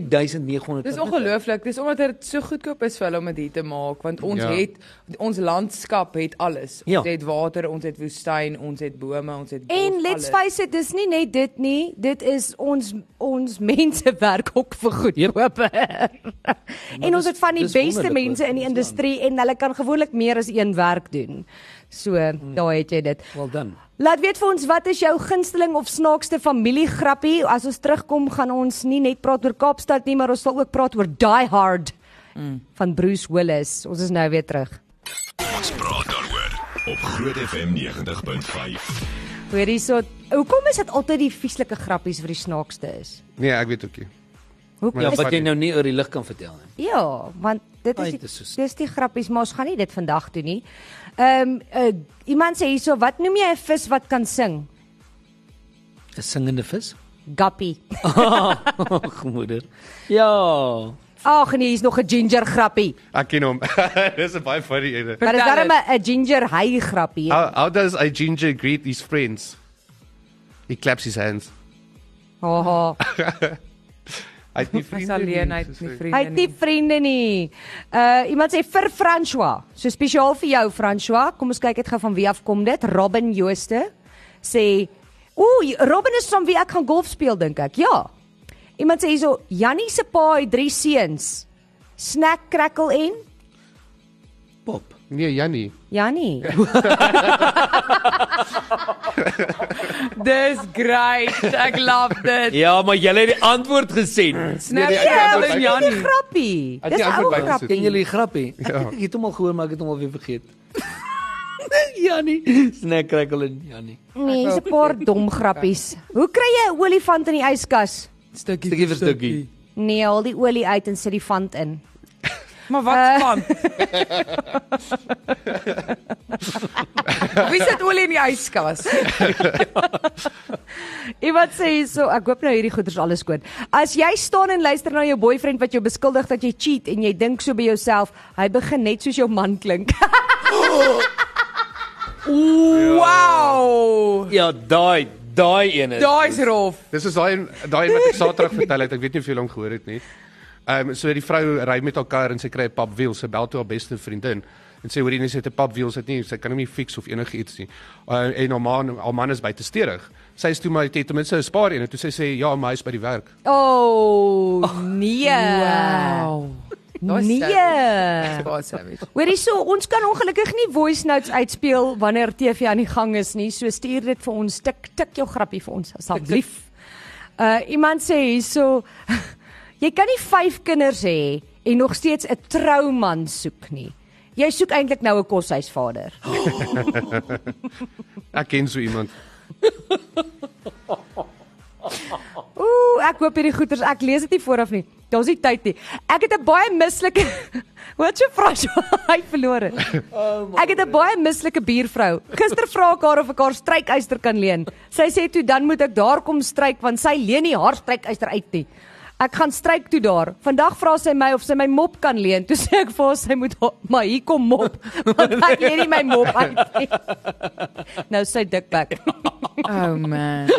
Speaker 5: 3900.
Speaker 4: Dis
Speaker 5: permitte.
Speaker 4: ongelooflik. Dis omdat dit so goedkoop is vir hulle om dit hier te maak want ons
Speaker 3: Ja.
Speaker 4: ja. het ons landskap het alles. Ons
Speaker 5: Ja.
Speaker 4: ja. het water, ons het woestyn, ons het bome, ons het bos,
Speaker 2: En let's
Speaker 4: alles.
Speaker 2: face it, dis nie net dit nie, dit is ons ons mense werk ook vir goed.
Speaker 5: Jep.
Speaker 2: en ons
Speaker 5: Ja, dis-
Speaker 2: het van die
Speaker 5: dis
Speaker 2: beste
Speaker 5: wonderlik
Speaker 2: mense
Speaker 5: wat
Speaker 2: in die
Speaker 5: ons
Speaker 2: industrie en hulle kan gewoonlik meer as een werk doen. So,
Speaker 5: Hmm.
Speaker 2: daar het jy dit.
Speaker 5: Well done.
Speaker 2: Laat weet vir ons wat is jou gunsteling of snaakste familiegrappie? As ons terugkom gaan ons nie net praat oor Kaapstad nie, maar ons sal ook praat oor Die Hard
Speaker 5: Hmm.
Speaker 2: van Bruce Willis. Ons is nou weer terug.
Speaker 1: Ons praat daaroor op Groot FM 90.5.
Speaker 2: Hoor hierso, hoekom is dit altyd die vieslike grappies vir die snaakste is?
Speaker 3: Nee, ek weet ookie.
Speaker 2: Hoekom?
Speaker 5: Ja,
Speaker 3: Maar-
Speaker 2: is,
Speaker 5: wat jy nou nie oor die lig kan vertel nie.
Speaker 2: ja want dit
Speaker 5: Ai,
Speaker 2: is die,
Speaker 5: dis so-
Speaker 2: dis die grappies, maar ons gaan nie dit vandag doen nie. Ehm uh, iemand sê hierso, wat noem jy 'n vis wat kan sing?
Speaker 5: 'n Singende vis?
Speaker 2: Gappie.
Speaker 5: Ag, Ah, moeder. Ja.
Speaker 2: Ag nee, hier's nog 'n ginger grappie.
Speaker 3: Ek ken hom. Dis 'n baie funny ene.
Speaker 2: Maar is
Speaker 4: Vertel
Speaker 2: daarom
Speaker 4: het.
Speaker 2: 'n 'n ginger hy grappie.
Speaker 3: How, how does a ginger greet his friends? He claps his hands.
Speaker 2: Haha.
Speaker 3: Hy het nie
Speaker 4: Hy's
Speaker 3: vriende nie.
Speaker 4: alleen, hy het
Speaker 3: soos
Speaker 4: nie
Speaker 3: hy-
Speaker 2: Hy
Speaker 4: vriende
Speaker 2: het nie
Speaker 4: nie.
Speaker 2: vriende nie. Uh iemand sê vir François. So spesiaal vir jou François. Kom ons kyk dit gou van wie af kom dit. Robin Jooste sê Ooh, Robin is van wie ek gaan golf speel dink ek. Ja. Iemand sê hierso Jannie se pa het drie seuns. Snack, Crackle en
Speaker 5: Pop.
Speaker 3: Nee, Jannie.
Speaker 2: Jannie.
Speaker 3: Ja,
Speaker 4: Dis great. Ek love dit.
Speaker 5: Ja, maar jy het die antwoord gesê.
Speaker 4: Snap
Speaker 3: nee,
Speaker 4: jy?
Speaker 3: ek- ek-
Speaker 4: Ja,
Speaker 3: ek-
Speaker 4: dis
Speaker 2: Dis
Speaker 3: ek-
Speaker 2: 'n
Speaker 4: Janie.
Speaker 2: grappie.
Speaker 3: Hy het
Speaker 2: Dis
Speaker 3: nie
Speaker 2: 'n ou
Speaker 3: antwoord bygesit
Speaker 2: grappie.
Speaker 3: nie.
Speaker 5: Ken Ja. julle die grappie? Ek dink ek het hom al gehoor, maar ek het hom al weer vergeet. Jannie, snack crackle en Jannie.
Speaker 2: Nee, dis 'n paar dom grappies. Hoe kry jy 'n olifant in die yskas?
Speaker 4: Stukkie
Speaker 5: Stukkie vir stukkie.
Speaker 2: Nee, haal die olie uit en sit die vant in.
Speaker 4: Maar wat van? Wie sit olie in die yskas?
Speaker 2: Iemand sê so, ek hoop nou hierdie goeders alles skoon. As jy staan en luister na jou boyfriend wat jou beskuldig dat jy cheat en jy dink so by jouself, hy begin net soos jou man klink.
Speaker 4: Wow!
Speaker 5: Ja, daai, daai een is.
Speaker 4: Oh. Daai's rof.
Speaker 3: Dis is daai een- daai een wat ek Saterdag vertel het. Ek weet nie of jy hom gehoor het nie. Ehm um, so die vrou ry met haar kar en sy kry 'n pap wiel. Sy bel toe haar beste vriendin en sê hoorie, sy het 'n pap wiel, sy het nie, sy kan hom nie fix of enigiets nie. Uh, en haar man, haar man is by te stedig. Sy sê toe maar het ten minste 'n spaar een en toe sy sê ja, maar hy is by die werk.
Speaker 2: O oh, nee.
Speaker 4: Daai is
Speaker 2: Nee.
Speaker 4: Daai savage.
Speaker 2: Hoor hierso, ons kan ongelukkig nie voice notes uitspeel wanneer TV aan die gang is nie. So stuur dit vir ons. Tik tik jou grappie vir ons asseblief. Uh iemand sê hierso jy kan nie 5 kinders hê en nog steeds 'n trouman soek nie. Jy soek eintlik nou 'n koshuisvader.
Speaker 3: Ek ken so iemand.
Speaker 2: Ooh, ek hoop hierdie goeters. Ek lees dit nie vooraf nie. Daar's nie tyd nie. Ek het 'n baie mislike Wat so vrae hy verloor het. Ek het 'n baie mislike buurvrou. Gister vra ek haar of ek haar strykyster kan leen. Sy sê toe dan moet ek daar kom stryk want sy leen nie haar strykyster uit nie. Ek gaan stryk toe daar. Vandag vra sy my of sy my mop kan leen. Toe sê ek vir haar sy moet haar- maar hier kom mop. Want ek leen nie my mop uit nie. nou sy dikbek.
Speaker 4: Oh man.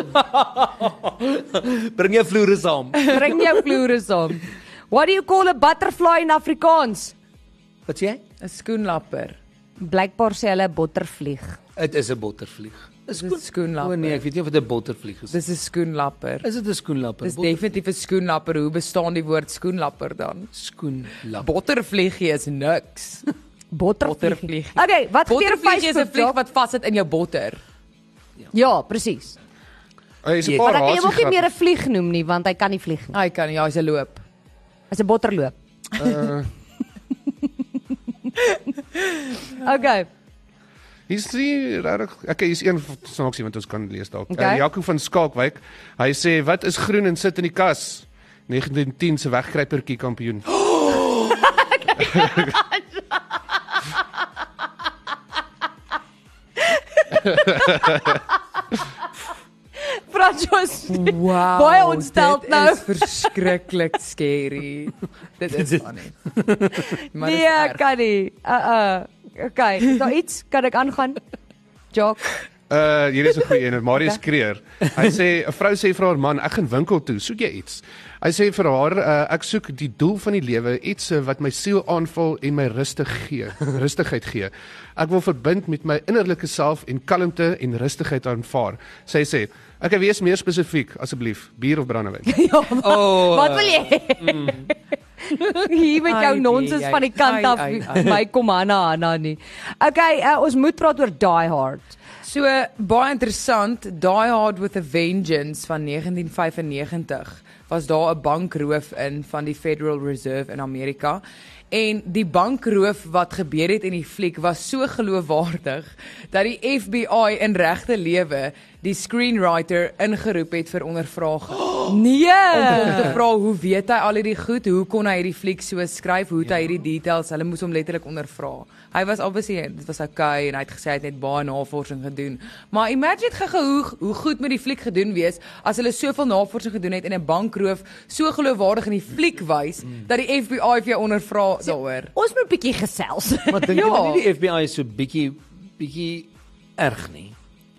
Speaker 5: Bring jou vloere saam.
Speaker 2: Bring jou kloere saam. What do you call a butterfly in Afrikaans?
Speaker 5: Wat sê jy?
Speaker 4: 'n Skoenlapper.
Speaker 2: Blykbaar sê hulle bottervlieg.
Speaker 5: Dit is 'n bottervlieg. Is
Speaker 4: Dis 'n skoenlapper.
Speaker 5: O nee, ek weet nie of dit 'n bottervlieg is.
Speaker 4: Dis 'n skoenlapper.
Speaker 5: Is dit 'n skoenlapper?
Speaker 4: Dis definitief 'n skoenlapper. Hoe bestaan die woord skoenlapper dan?
Speaker 5: skoenlapper.
Speaker 4: Bottervliegie is niks.
Speaker 2: Bottervlieg.
Speaker 4: Bottervliegie.
Speaker 2: Okay, wat gebeur op
Speaker 4: Bottervliegie is 'n
Speaker 2: Facebook?
Speaker 4: vlieg
Speaker 2: Job?
Speaker 4: wat vashit in jou botter.
Speaker 2: Ja, presies.
Speaker 3: Hy is Eh, 'n
Speaker 2: Maar
Speaker 3: paar
Speaker 2: ek wil ook nie
Speaker 3: hasie
Speaker 2: meer 'n vlieg noem nie want hy kan nie vlieg nie.
Speaker 4: Hy kan ja, hy's 'n loop.
Speaker 2: Hy's 'n botterloop.
Speaker 4: Eh.
Speaker 3: grap.
Speaker 2: Okay.
Speaker 3: Hier's nie regtig. Ek hier's een snaaksie wat ons kan lees dalk. Okay.
Speaker 2: Okay.
Speaker 3: Uh, Jaco van Skalkwyk. Hy sê wat is groen en sit in die kas? 1910 se wegkruipertjie kampioen.
Speaker 2: Francois.
Speaker 4: Wow.
Speaker 2: Baie ontsteld
Speaker 4: dit
Speaker 2: nou.
Speaker 4: Dit is verskriklik scary. dit is funny. Maar dit is
Speaker 2: Nee,
Speaker 4: erg.
Speaker 2: kan nie. Uh uh. Okay, is daar iets kan ek aangaan? Jock.
Speaker 3: Uh hier is 'n goeie een, Marius Kreer. Hy sê 'n vrou sê vir haar man, ek gaan winkel toe, soek jy iets? Hy sê vir haar, uh, ek soek die doel van die lewe, iets uh, wat my siel aanvul en my rustig gee, rustigheid gee. Ek wil verbind met my innerlike self en kalmte en rustigheid aanvaar. Sy sê, ek wil wees meer spesifiek asseblief, bier of brandewyn.
Speaker 2: ja, wat,
Speaker 5: Oh,
Speaker 2: wat wil jy? Hier met jou
Speaker 4: Ai,
Speaker 2: nonsens
Speaker 4: ai,
Speaker 2: van die kant
Speaker 4: ai,
Speaker 2: af.
Speaker 4: ai, ai.
Speaker 2: My kom Hanna Hanna nie. Okay, uh, ons moet praat oor Die Hard.
Speaker 4: So baie interessant, Die Hard with a Vengeance van 1995 was daar 'n bankroof in van die Federal Reserve in Amerika. En die bankroof wat gebeur het in die fliek was so geloofwaardig dat die FBI in regte lewe die screenwriter ingeroep het vir ondervraging. Om hom
Speaker 2: Nee.
Speaker 4: te vra hoe weet hy al hierdie goed? Hoe kon hy hierdie fliek so skryf? Hoe het hy hierdie details? Hulle moes hom letterlik ondervra. Hy was obviously dit was okay en hy het gesê hy het net baie navorsing gedoen. Maar imagine dit gou hoe hoe goed moet die fliek gedoen wees as hulle soveel navorsing gedoen het en 'n bankroof so geloofwaardig in die fliek wys dat die FBI vir jou ondervra daaroor.
Speaker 2: Ons moet 'n bietjie gesels.
Speaker 5: Maar dink jy
Speaker 4: Ja.
Speaker 5: maar nie die FBI is so bietjie bietjie erg nie?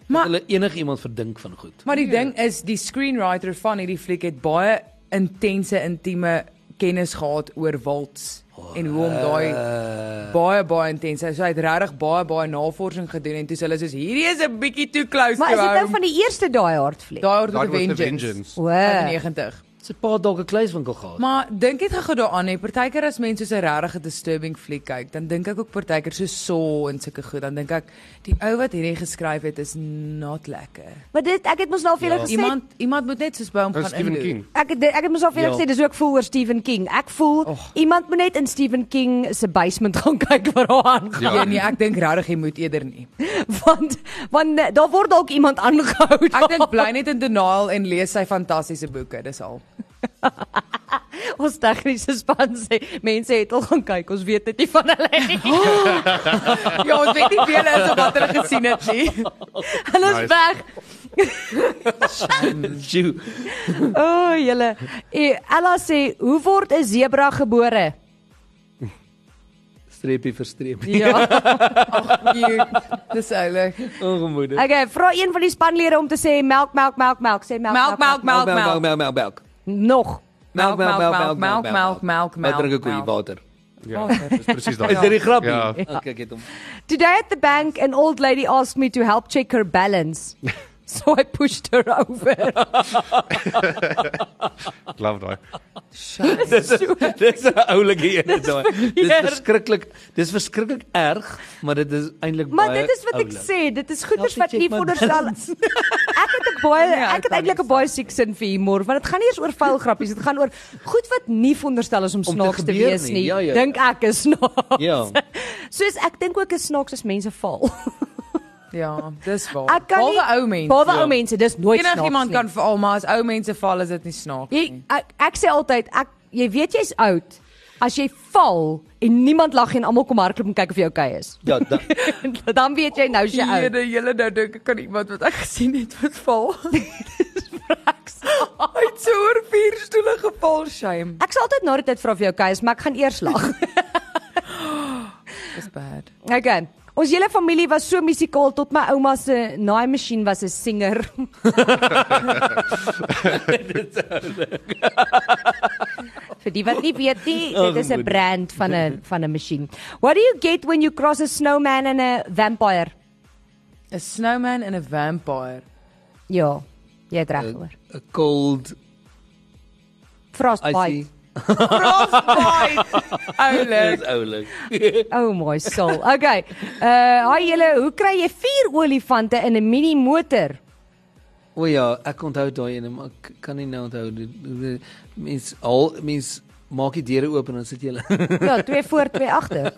Speaker 5: Maar
Speaker 4: Maar-
Speaker 5: hulle enigiemand verdink van goed.
Speaker 4: Maar die ding is die screenwriter van hierdie fliek het baie intense intieme kennis gehad oor Waltz en hoe om daai
Speaker 5: Eh,
Speaker 4: baie baie intens. So hy het regtig baie baie navorsing gedoen en toe sê hulle soos hierdie is 'n bietjie too close
Speaker 2: maar
Speaker 4: to
Speaker 2: is dit nou
Speaker 4: home.
Speaker 2: van die eerste Die Hard fliek?
Speaker 4: Daai word
Speaker 3: Daai
Speaker 4: met
Speaker 3: was 'n
Speaker 4: vengeance. Oh,
Speaker 3: vengeance.
Speaker 2: Wow.
Speaker 4: 90.
Speaker 5: Dit's 'n paar dalk 'n kluiswinkel gehad.
Speaker 4: Maar dink dit gou daaraan hè, partykeer as mense so 'n regte disturbing fliek kyk, dan dink ek ook partykeer so so en sulke goed, dan dink ek die ou wat hierdie geskryf het is not lekker.
Speaker 2: Maar dit ek het mos nou al vir julle gesê
Speaker 4: Ja. Iemand iemand moet net soos by hom
Speaker 3: Dis
Speaker 4: gaan
Speaker 3: Stephen
Speaker 4: indoen.
Speaker 3: King.
Speaker 2: Ek het ek het mos al vir jou
Speaker 5: Ja.
Speaker 2: gesê dis hoe ek voel oor Stephen King. Ek voel
Speaker 4: Och.
Speaker 2: iemand moet net in Stephen King se basement gaan kyk wat daar aangaan.
Speaker 4: Ja, nee, ek dink regtig jy moet eerder nie.
Speaker 2: Want want eh, daar word dalk iemand aangehou.
Speaker 4: Ek dink
Speaker 2: daar.
Speaker 4: bly net in denial en lees sy fantastiese boeke, dis al.
Speaker 2: ons tegniese span sê mense het al gaan kyk. Ons weet net nie van hulle nie.
Speaker 4: Ja, ons weet nie wie hulle is of wat hulle gesien het nie.
Speaker 2: Hulle is
Speaker 3: Nice.
Speaker 2: weg.
Speaker 5: Sjoe.
Speaker 2: O, oh, julle. Eh, Ella sê, "Hoe word 'n sebra gebore?"
Speaker 5: Streepie vir streepie.
Speaker 2: Ja.
Speaker 4: Cute. Dis eilig.
Speaker 5: Ongemoedig.
Speaker 2: Okay, eh, vra een van die spanlede om te sê melk, melk, melk, melk. Sê melk.
Speaker 4: Melk, melk, melk, melk.
Speaker 5: melk, melk, melk.
Speaker 2: Nog.
Speaker 5: Melk, melk, melk, melk,
Speaker 4: melk, melk, melk,
Speaker 5: Wat drink
Speaker 4: melk,
Speaker 5: ek koeie
Speaker 4: melk.
Speaker 5: water?
Speaker 3: Ja, dis presies daai.
Speaker 5: Is dit die grap?
Speaker 3: Ja.
Speaker 5: Okay, ek het hom.
Speaker 2: Today at the bank, an old lady asked me to help check her balance. So I pushed her over.
Speaker 3: Ek Love daai.
Speaker 5: Dis dis 'n oulike een daai. Dis
Speaker 2: verkeerd.
Speaker 5: verskriklik. Dis verskriklik erg, maar dit is eintlik baie
Speaker 2: Maar dit is wat ek
Speaker 5: oulik.
Speaker 2: sê, dit is goeders
Speaker 5: Help me
Speaker 2: wat
Speaker 5: check
Speaker 2: nie
Speaker 5: my
Speaker 2: veronderstel. Ek het ek baie
Speaker 4: Nee,
Speaker 2: ek
Speaker 4: ek
Speaker 2: het
Speaker 4: kan
Speaker 2: eintlik
Speaker 4: nie
Speaker 2: 'n baie siek sin vir humor, want dit gaan nie eens oor vuil grappies, dit gaan oor goed wat nie veronderstel is om
Speaker 5: te
Speaker 2: snaaks te,
Speaker 5: gebeur
Speaker 2: wees
Speaker 5: nie,
Speaker 2: nie.
Speaker 5: ja, ja,
Speaker 2: Dink ek is snaaks.
Speaker 5: Ja.
Speaker 2: Soos ek dink ook is snaaks as mense val.
Speaker 4: Ja, dis waar.
Speaker 2: Ek kan nie
Speaker 4: Behalwe ou mense.
Speaker 2: Behalwe
Speaker 5: Ja.
Speaker 2: ou mense, dis nooit snaaks.
Speaker 4: Enigiemand
Speaker 2: nie.
Speaker 4: kan val, maar as ou mense val is dit nie snaaks
Speaker 2: Jy
Speaker 4: nie.
Speaker 2: ek, ek sê altyd ek jy weet jy's oud as jy val en niemand lag en almal kom hardloop en kyk of jy okay is.
Speaker 5: Ja, da,
Speaker 2: Dan weet jy nou jy's oud.
Speaker 4: Jede, julle nou dink ek kan iemand wat ek gesien het wat val.
Speaker 2: Praks.
Speaker 4: Hy het so oor vier stoele geval, shame.
Speaker 2: Ek sal altyd na die tyd vra vir jou kuis, maar ek gaan eers lag.
Speaker 4: Dis bad.
Speaker 2: Okay. Ons hele familie was so musikaal tot my ouma se naaimasjien was 'n singer. Vir die wat nie weet nie, dit is 'n brand van 'n van 'n masjien. What do you get when you cross a snowman and a vampire?
Speaker 4: 'n Snowman en 'n vampire.
Speaker 2: Ja, jy het reg hoor.
Speaker 5: 'n cold
Speaker 2: Frostbite.
Speaker 5: icy.
Speaker 4: Frostbite. Oulik.
Speaker 5: Dis oulik.
Speaker 2: Oh my soul. Okay. Uh, hi julle, hoe kry jy vier olifante in 'n mini motor?
Speaker 5: O ja, ek onthou daai een, maar ek kan nie nou onthou nie. Mens al mens maak die deure oop en dan sit jy hulle.
Speaker 2: Ja, twee voor, twee agter.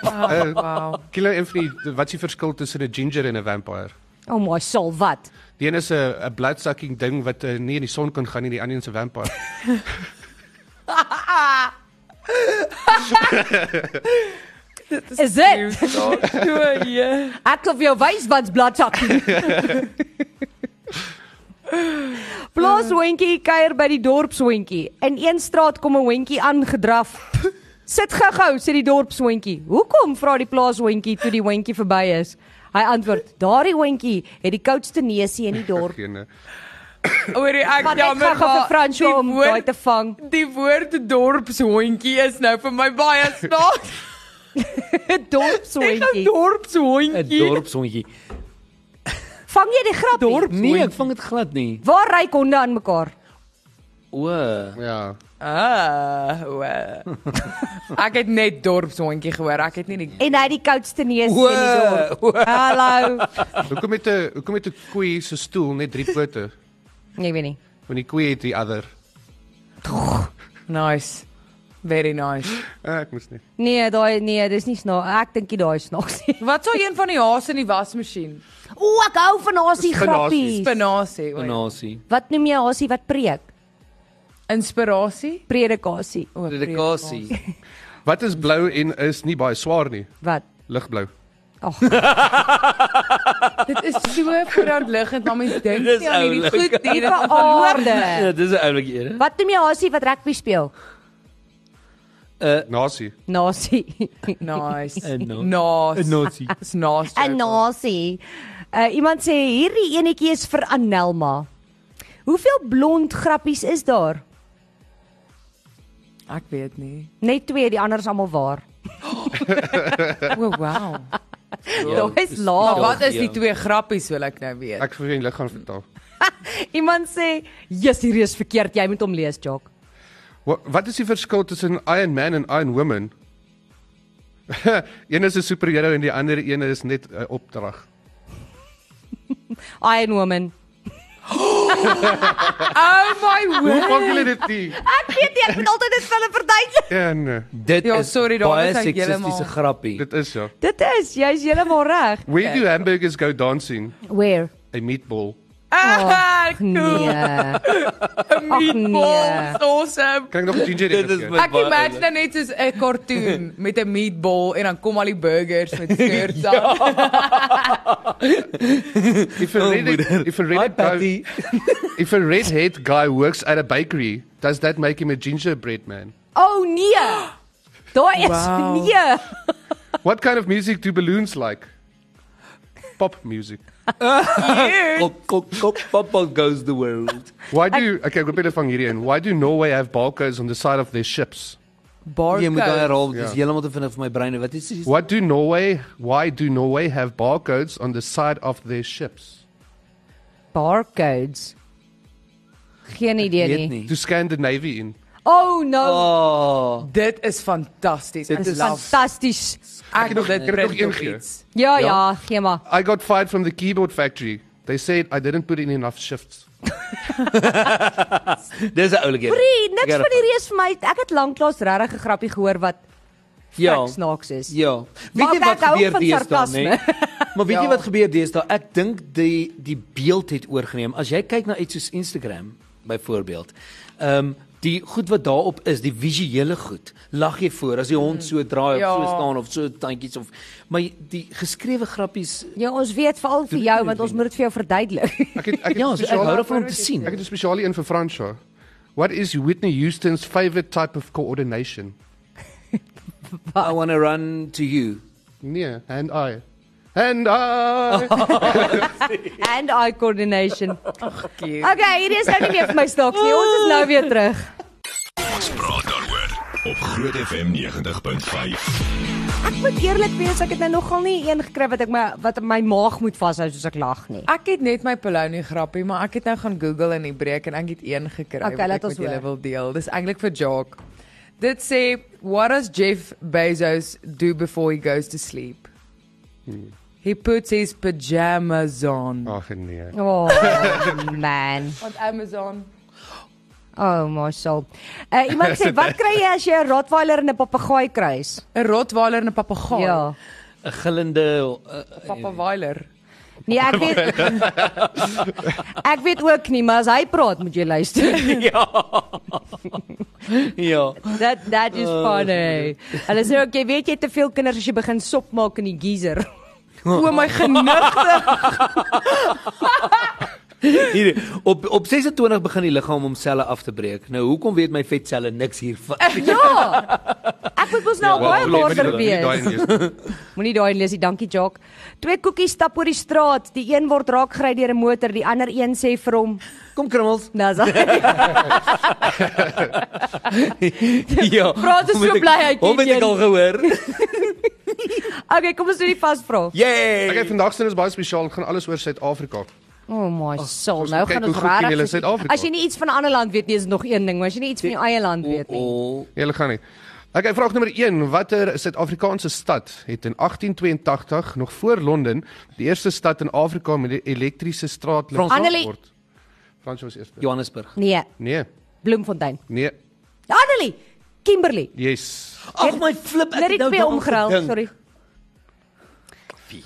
Speaker 4: Oh, wow.
Speaker 3: Kilo Anthony, wat is die verskil tussen 'n ginger en 'n vampire?
Speaker 2: Oh my soul, wat?
Speaker 3: Die een is 'n 'n bloodsucking ding wat uh, nie in die son kan gaan nie, die ander een se vampire.
Speaker 2: Is dit?
Speaker 4: So ja.
Speaker 2: Ek wil vir jou wys wat's bladsak. Plaas hondjie kuier by die dorpshondjie. In een straat kom 'n hondjie aangedraf. Sit gou-gou, sê die dorpshondjie. Hoekom vra die plaashondjie toe die hondjie verby is? Hy antwoord: "Daardie hondjie het die koudste neusie in die dorp."
Speaker 3: Geen, eh,
Speaker 4: Oor die ek
Speaker 2: Gaan ek
Speaker 4: jammer
Speaker 2: gou-gou vir Fransjo om daai te vang.
Speaker 4: Die woord dorpshondjie is nou vir my baie snaaks.
Speaker 2: 'n
Speaker 4: Ek gaan
Speaker 2: Dorpshondjie.
Speaker 5: "n
Speaker 4: dorpshondjie.
Speaker 5: Dorpshondjie."
Speaker 2: Vang jy die grap? nie?
Speaker 4: Dorp-
Speaker 5: Nee, ek vang dit glad nie.
Speaker 2: Waar ry honde aan mekaar?
Speaker 5: O.
Speaker 3: ja.
Speaker 4: Ah, wow. ek het net dorpshondjie gehoor. Ek het nie die
Speaker 2: En hy het die koudste neusie in die dorp. Hallo.
Speaker 3: Hoekom het 'n hoekom het 'n koei se stoel net drie pote?
Speaker 2: Nee, weet nie.
Speaker 3: Want die koei het die ander.
Speaker 4: nice. Very nice.
Speaker 3: Ah, ek moes nie.
Speaker 2: Nee, daai nee, dis nie snaaks. Ek dink nie daai is snaaks nie.
Speaker 4: Wat sou een van die haas in die wasmasjien?
Speaker 2: O, ek hou van hasie grappies.
Speaker 4: Spinasie. oei.
Speaker 5: Nasie.
Speaker 2: Wat noem jy hasie wat preek?
Speaker 4: Inspirasie?
Speaker 2: Predikasie.
Speaker 4: O,
Speaker 5: Dedikasie.
Speaker 3: Wat is blou en is nie baie swaar nie.
Speaker 2: Wat?
Speaker 3: Ligblou.
Speaker 2: Ag,
Speaker 4: Dit is so vooruitliggend, maar mense dink
Speaker 5: Dis
Speaker 4: nie aan hierdie
Speaker 5: oulik.
Speaker 4: goed nie. Dit is
Speaker 2: aarde.
Speaker 5: Ja, dis 'n oulike ere.
Speaker 2: Wat noem jy hasie wat rugby speel?
Speaker 3: Nasie.
Speaker 2: Nasie.
Speaker 4: nice.
Speaker 5: Een no-
Speaker 4: Nice.
Speaker 5: nasie.
Speaker 4: Dis nice.
Speaker 2: 'n Nasie. Uh, iemand sê hierdie enetjie is vir Annelma. Hoeveel blond grappies is daar?
Speaker 4: Ek weet nie.
Speaker 2: Net twee, die ander is almal waar.
Speaker 4: O, wow.
Speaker 2: Daar is laag.
Speaker 4: Maar Oh, wat is die twee grappies wil ek nou weet?
Speaker 3: Ek vir wie lig gaan vertaal.
Speaker 2: Iemand sê, "Jesus, hierdie is verkeerd. Jy moet hom lees, Jock."
Speaker 3: Wat, wat is die verskil tussen Iron Man en Iron Woman? een is 'n superheld en die ander een is net 'n opdrag.
Speaker 2: Iron Woman.
Speaker 4: Oh my
Speaker 3: Hoe
Speaker 4: word.
Speaker 3: vang julle dit nie?
Speaker 2: Ek weet nie, ek moet altyd dit vir hulle verduidelik.
Speaker 3: Ja, nee.
Speaker 5: Dit
Speaker 4: Ja,
Speaker 5: is
Speaker 4: sorry, daar nou
Speaker 5: baie
Speaker 4: was ek
Speaker 5: seksistiese
Speaker 4: heeltemal-
Speaker 5: grappie.
Speaker 3: Dit is ja.
Speaker 2: Dit is, jy's heeltemal reg.
Speaker 3: Where do hamburgers go dancing?
Speaker 2: Where?
Speaker 3: 'n Meatball.
Speaker 4: Ah, cool.
Speaker 2: Nee. nee.
Speaker 4: Meatballs, awesome.
Speaker 3: Kan ek nog 'n ginger eet?
Speaker 5: Dit is my-
Speaker 4: Ek
Speaker 5: Baie
Speaker 4: imagine dan net soos 'n kartoon met 'n meatball en dan kom al die burgers met skirts aan. ja.
Speaker 3: If a red if a
Speaker 5: Oh, Hi
Speaker 3: red guy,
Speaker 5: Patty.
Speaker 3: if a redhead guy works at a bakery, does that make him a gingerbread man?
Speaker 2: Oh nee. Daai is
Speaker 4: Wow.
Speaker 2: nee.
Speaker 3: What kind of music do balloons like? Pop music.
Speaker 5: Kop kop kop pop pop goes the world.
Speaker 3: Why do okay, ek wil beter van hierdie een. Why do Norway have barcodes on the side of their ships?
Speaker 5: Jy moet daai
Speaker 4: Barcode.
Speaker 5: rol, dis heeltemal te vinnig vir my brein. Wat is dit?
Speaker 3: What do Norway? Why do Norway have barcodes on the side of their ships?
Speaker 2: Barcodes. Geen idee
Speaker 5: Weet
Speaker 2: nie.
Speaker 5: nie.
Speaker 3: To Scandinavia in.
Speaker 2: Oh no.
Speaker 5: Oh.
Speaker 4: Dit is fantasties. Dit
Speaker 2: Dit
Speaker 4: is
Speaker 2: is
Speaker 4: love.
Speaker 2: fantasties.
Speaker 4: Ek wil dit
Speaker 3: Kan ek nog
Speaker 4: print
Speaker 3: een
Speaker 4: op
Speaker 3: gee?
Speaker 4: iets.
Speaker 2: Ja
Speaker 5: Ja.
Speaker 2: ja, gee maar.
Speaker 3: I got fired from the keyboard factory. They said I didn't put in enough shifts.
Speaker 5: Dis 'n oulike.
Speaker 2: Free, niks van hierdie is vir my. Ek het lanklaas regtig 'n grappie gehoor wat
Speaker 5: Ja.
Speaker 2: ja. snaaks is.
Speaker 5: Ja. Weet
Speaker 2: Maar
Speaker 5: jy wat
Speaker 2: ek hou
Speaker 5: gebeur
Speaker 2: van
Speaker 5: deesdae,
Speaker 2: sarkasme.
Speaker 5: nê? Maar weet jy
Speaker 4: Ja.
Speaker 5: wat gebeur deesdae? Ek dink die die beeld het oorgeneem. As jy kyk na iets soos Instagram byvoorbeeld. Ehm um, die goed wat daarop is, die visuele goed, lag jy voor as die hond so draai of
Speaker 4: Ja.
Speaker 5: so staan of so tandjies of maar die geskrewe grappies
Speaker 2: Ja, ons weet veral vir jou want ons moet dit vir jou verduidelik.
Speaker 3: Ek het ek het
Speaker 5: Ja, so ek hou
Speaker 3: spesiaal
Speaker 5: daarvan om te sien.
Speaker 3: ek het 'n spesiale een vir Fransha. What is Whitney Houston's favorite type of coordination?
Speaker 5: I want to run to you.
Speaker 3: Nee, hand eye. Hand eye.
Speaker 2: And eye coordination.
Speaker 4: Cute.
Speaker 2: Okay, hierdie is nou nie meer vir my staaks nie. Ons is nou weer terug.
Speaker 1: Ons praat daaroor op Groot FM 90.5.
Speaker 2: Ek moet eerlik wees, ek het nou nogal nie een gekry wat ek my wat in my maag moet vashou soos ek lag nie.
Speaker 4: Ek het net my Polony grappie, maar ek het nou gaan Google in die breek en ek het een gekry
Speaker 2: Okay,
Speaker 4: wat
Speaker 2: laat
Speaker 4: ek
Speaker 2: ons
Speaker 4: met julle
Speaker 2: hoor.
Speaker 4: wil deel. Dis eintlik vir Jock. Dit sê, "What does Jeff Bezos do before he goes to sleep?"
Speaker 3: Hmm.
Speaker 4: He puts his pajamas on.
Speaker 3: Ag nee.
Speaker 2: Oh man.
Speaker 4: Want Amazon.
Speaker 2: Oh my soul. Uh, iemand sê wat kry jy as jy 'n Rottweiler en 'n papegaai kruis?
Speaker 4: 'n Rottweiler en 'n papegaai.
Speaker 2: Ja.
Speaker 5: 'n Gillende uh,
Speaker 4: Papaweiler.
Speaker 2: Nee, ek weet Ek weet ook nie, maar as hy praat moet jy luister.
Speaker 5: ja.
Speaker 2: That that is
Speaker 5: Oh, nee.
Speaker 2: funny. Hulle sê ook jy weet jy het te veel kinders as jy begin sop maak in die geyser.
Speaker 3: Oh.
Speaker 2: Nou,
Speaker 4: O my genigte.
Speaker 5: Hier op op 26 begin die liggaam om selle af te breek. Nou hoekom weet my vetselle niks hiervan?
Speaker 2: Eh. Ja. Ek moet mos nou
Speaker 5: Ja,
Speaker 2: baie
Speaker 5: wel, jy moet
Speaker 2: water
Speaker 5: nie-
Speaker 2: wees. Moenie daai lees nie, dankie Jock. Twee koekies stap oor die straat. Die een word raakgery deur 'n motor, die ander een sê vir hom, "Nou
Speaker 5: Kom krummels.
Speaker 2: "Naza."
Speaker 5: ja.
Speaker 2: Praat is
Speaker 5: hom het
Speaker 2: so
Speaker 5: ek-
Speaker 2: bly hy ken
Speaker 5: Hom het
Speaker 2: jou
Speaker 5: ek al gehoor.
Speaker 2: Okay, kom ons doen die vasvra.
Speaker 3: Ek het
Speaker 5: Yay.
Speaker 3: vandag sien is baie spesiaal. Dit gaan alles oor Suid-Afrika. Nee,
Speaker 2: O oh my soul,
Speaker 3: ons
Speaker 2: nou
Speaker 3: moet
Speaker 2: gaan
Speaker 3: kyk
Speaker 2: ons
Speaker 3: hoe goed ken
Speaker 2: regtig
Speaker 3: julle
Speaker 2: soek-
Speaker 3: Suid-Afrika.
Speaker 2: As jy nie iets van 'n ander land weet nie, is dit nog een ding, maar as jy nie iets van jou eie land weet nie.
Speaker 5: Oh,
Speaker 3: Julle gaan nie. Okay, vraag nommer 1. Watter Suid-Afrikaanse stad het in 1882 nog voor Londen die eerste stad in Afrika met 'n elektriese straatlig
Speaker 5: Frans- Ja.
Speaker 2: Annelie.
Speaker 3: geword? Frans was eerste.
Speaker 5: Johannesburg.
Speaker 2: Nee,
Speaker 3: Nee.
Speaker 2: Bloemfontein.
Speaker 3: Nee.
Speaker 2: Annelie, Kimberley.
Speaker 3: Yes.
Speaker 5: Ag my flip, nou
Speaker 2: Net die
Speaker 3: nou
Speaker 2: twee omgeruil, sorry.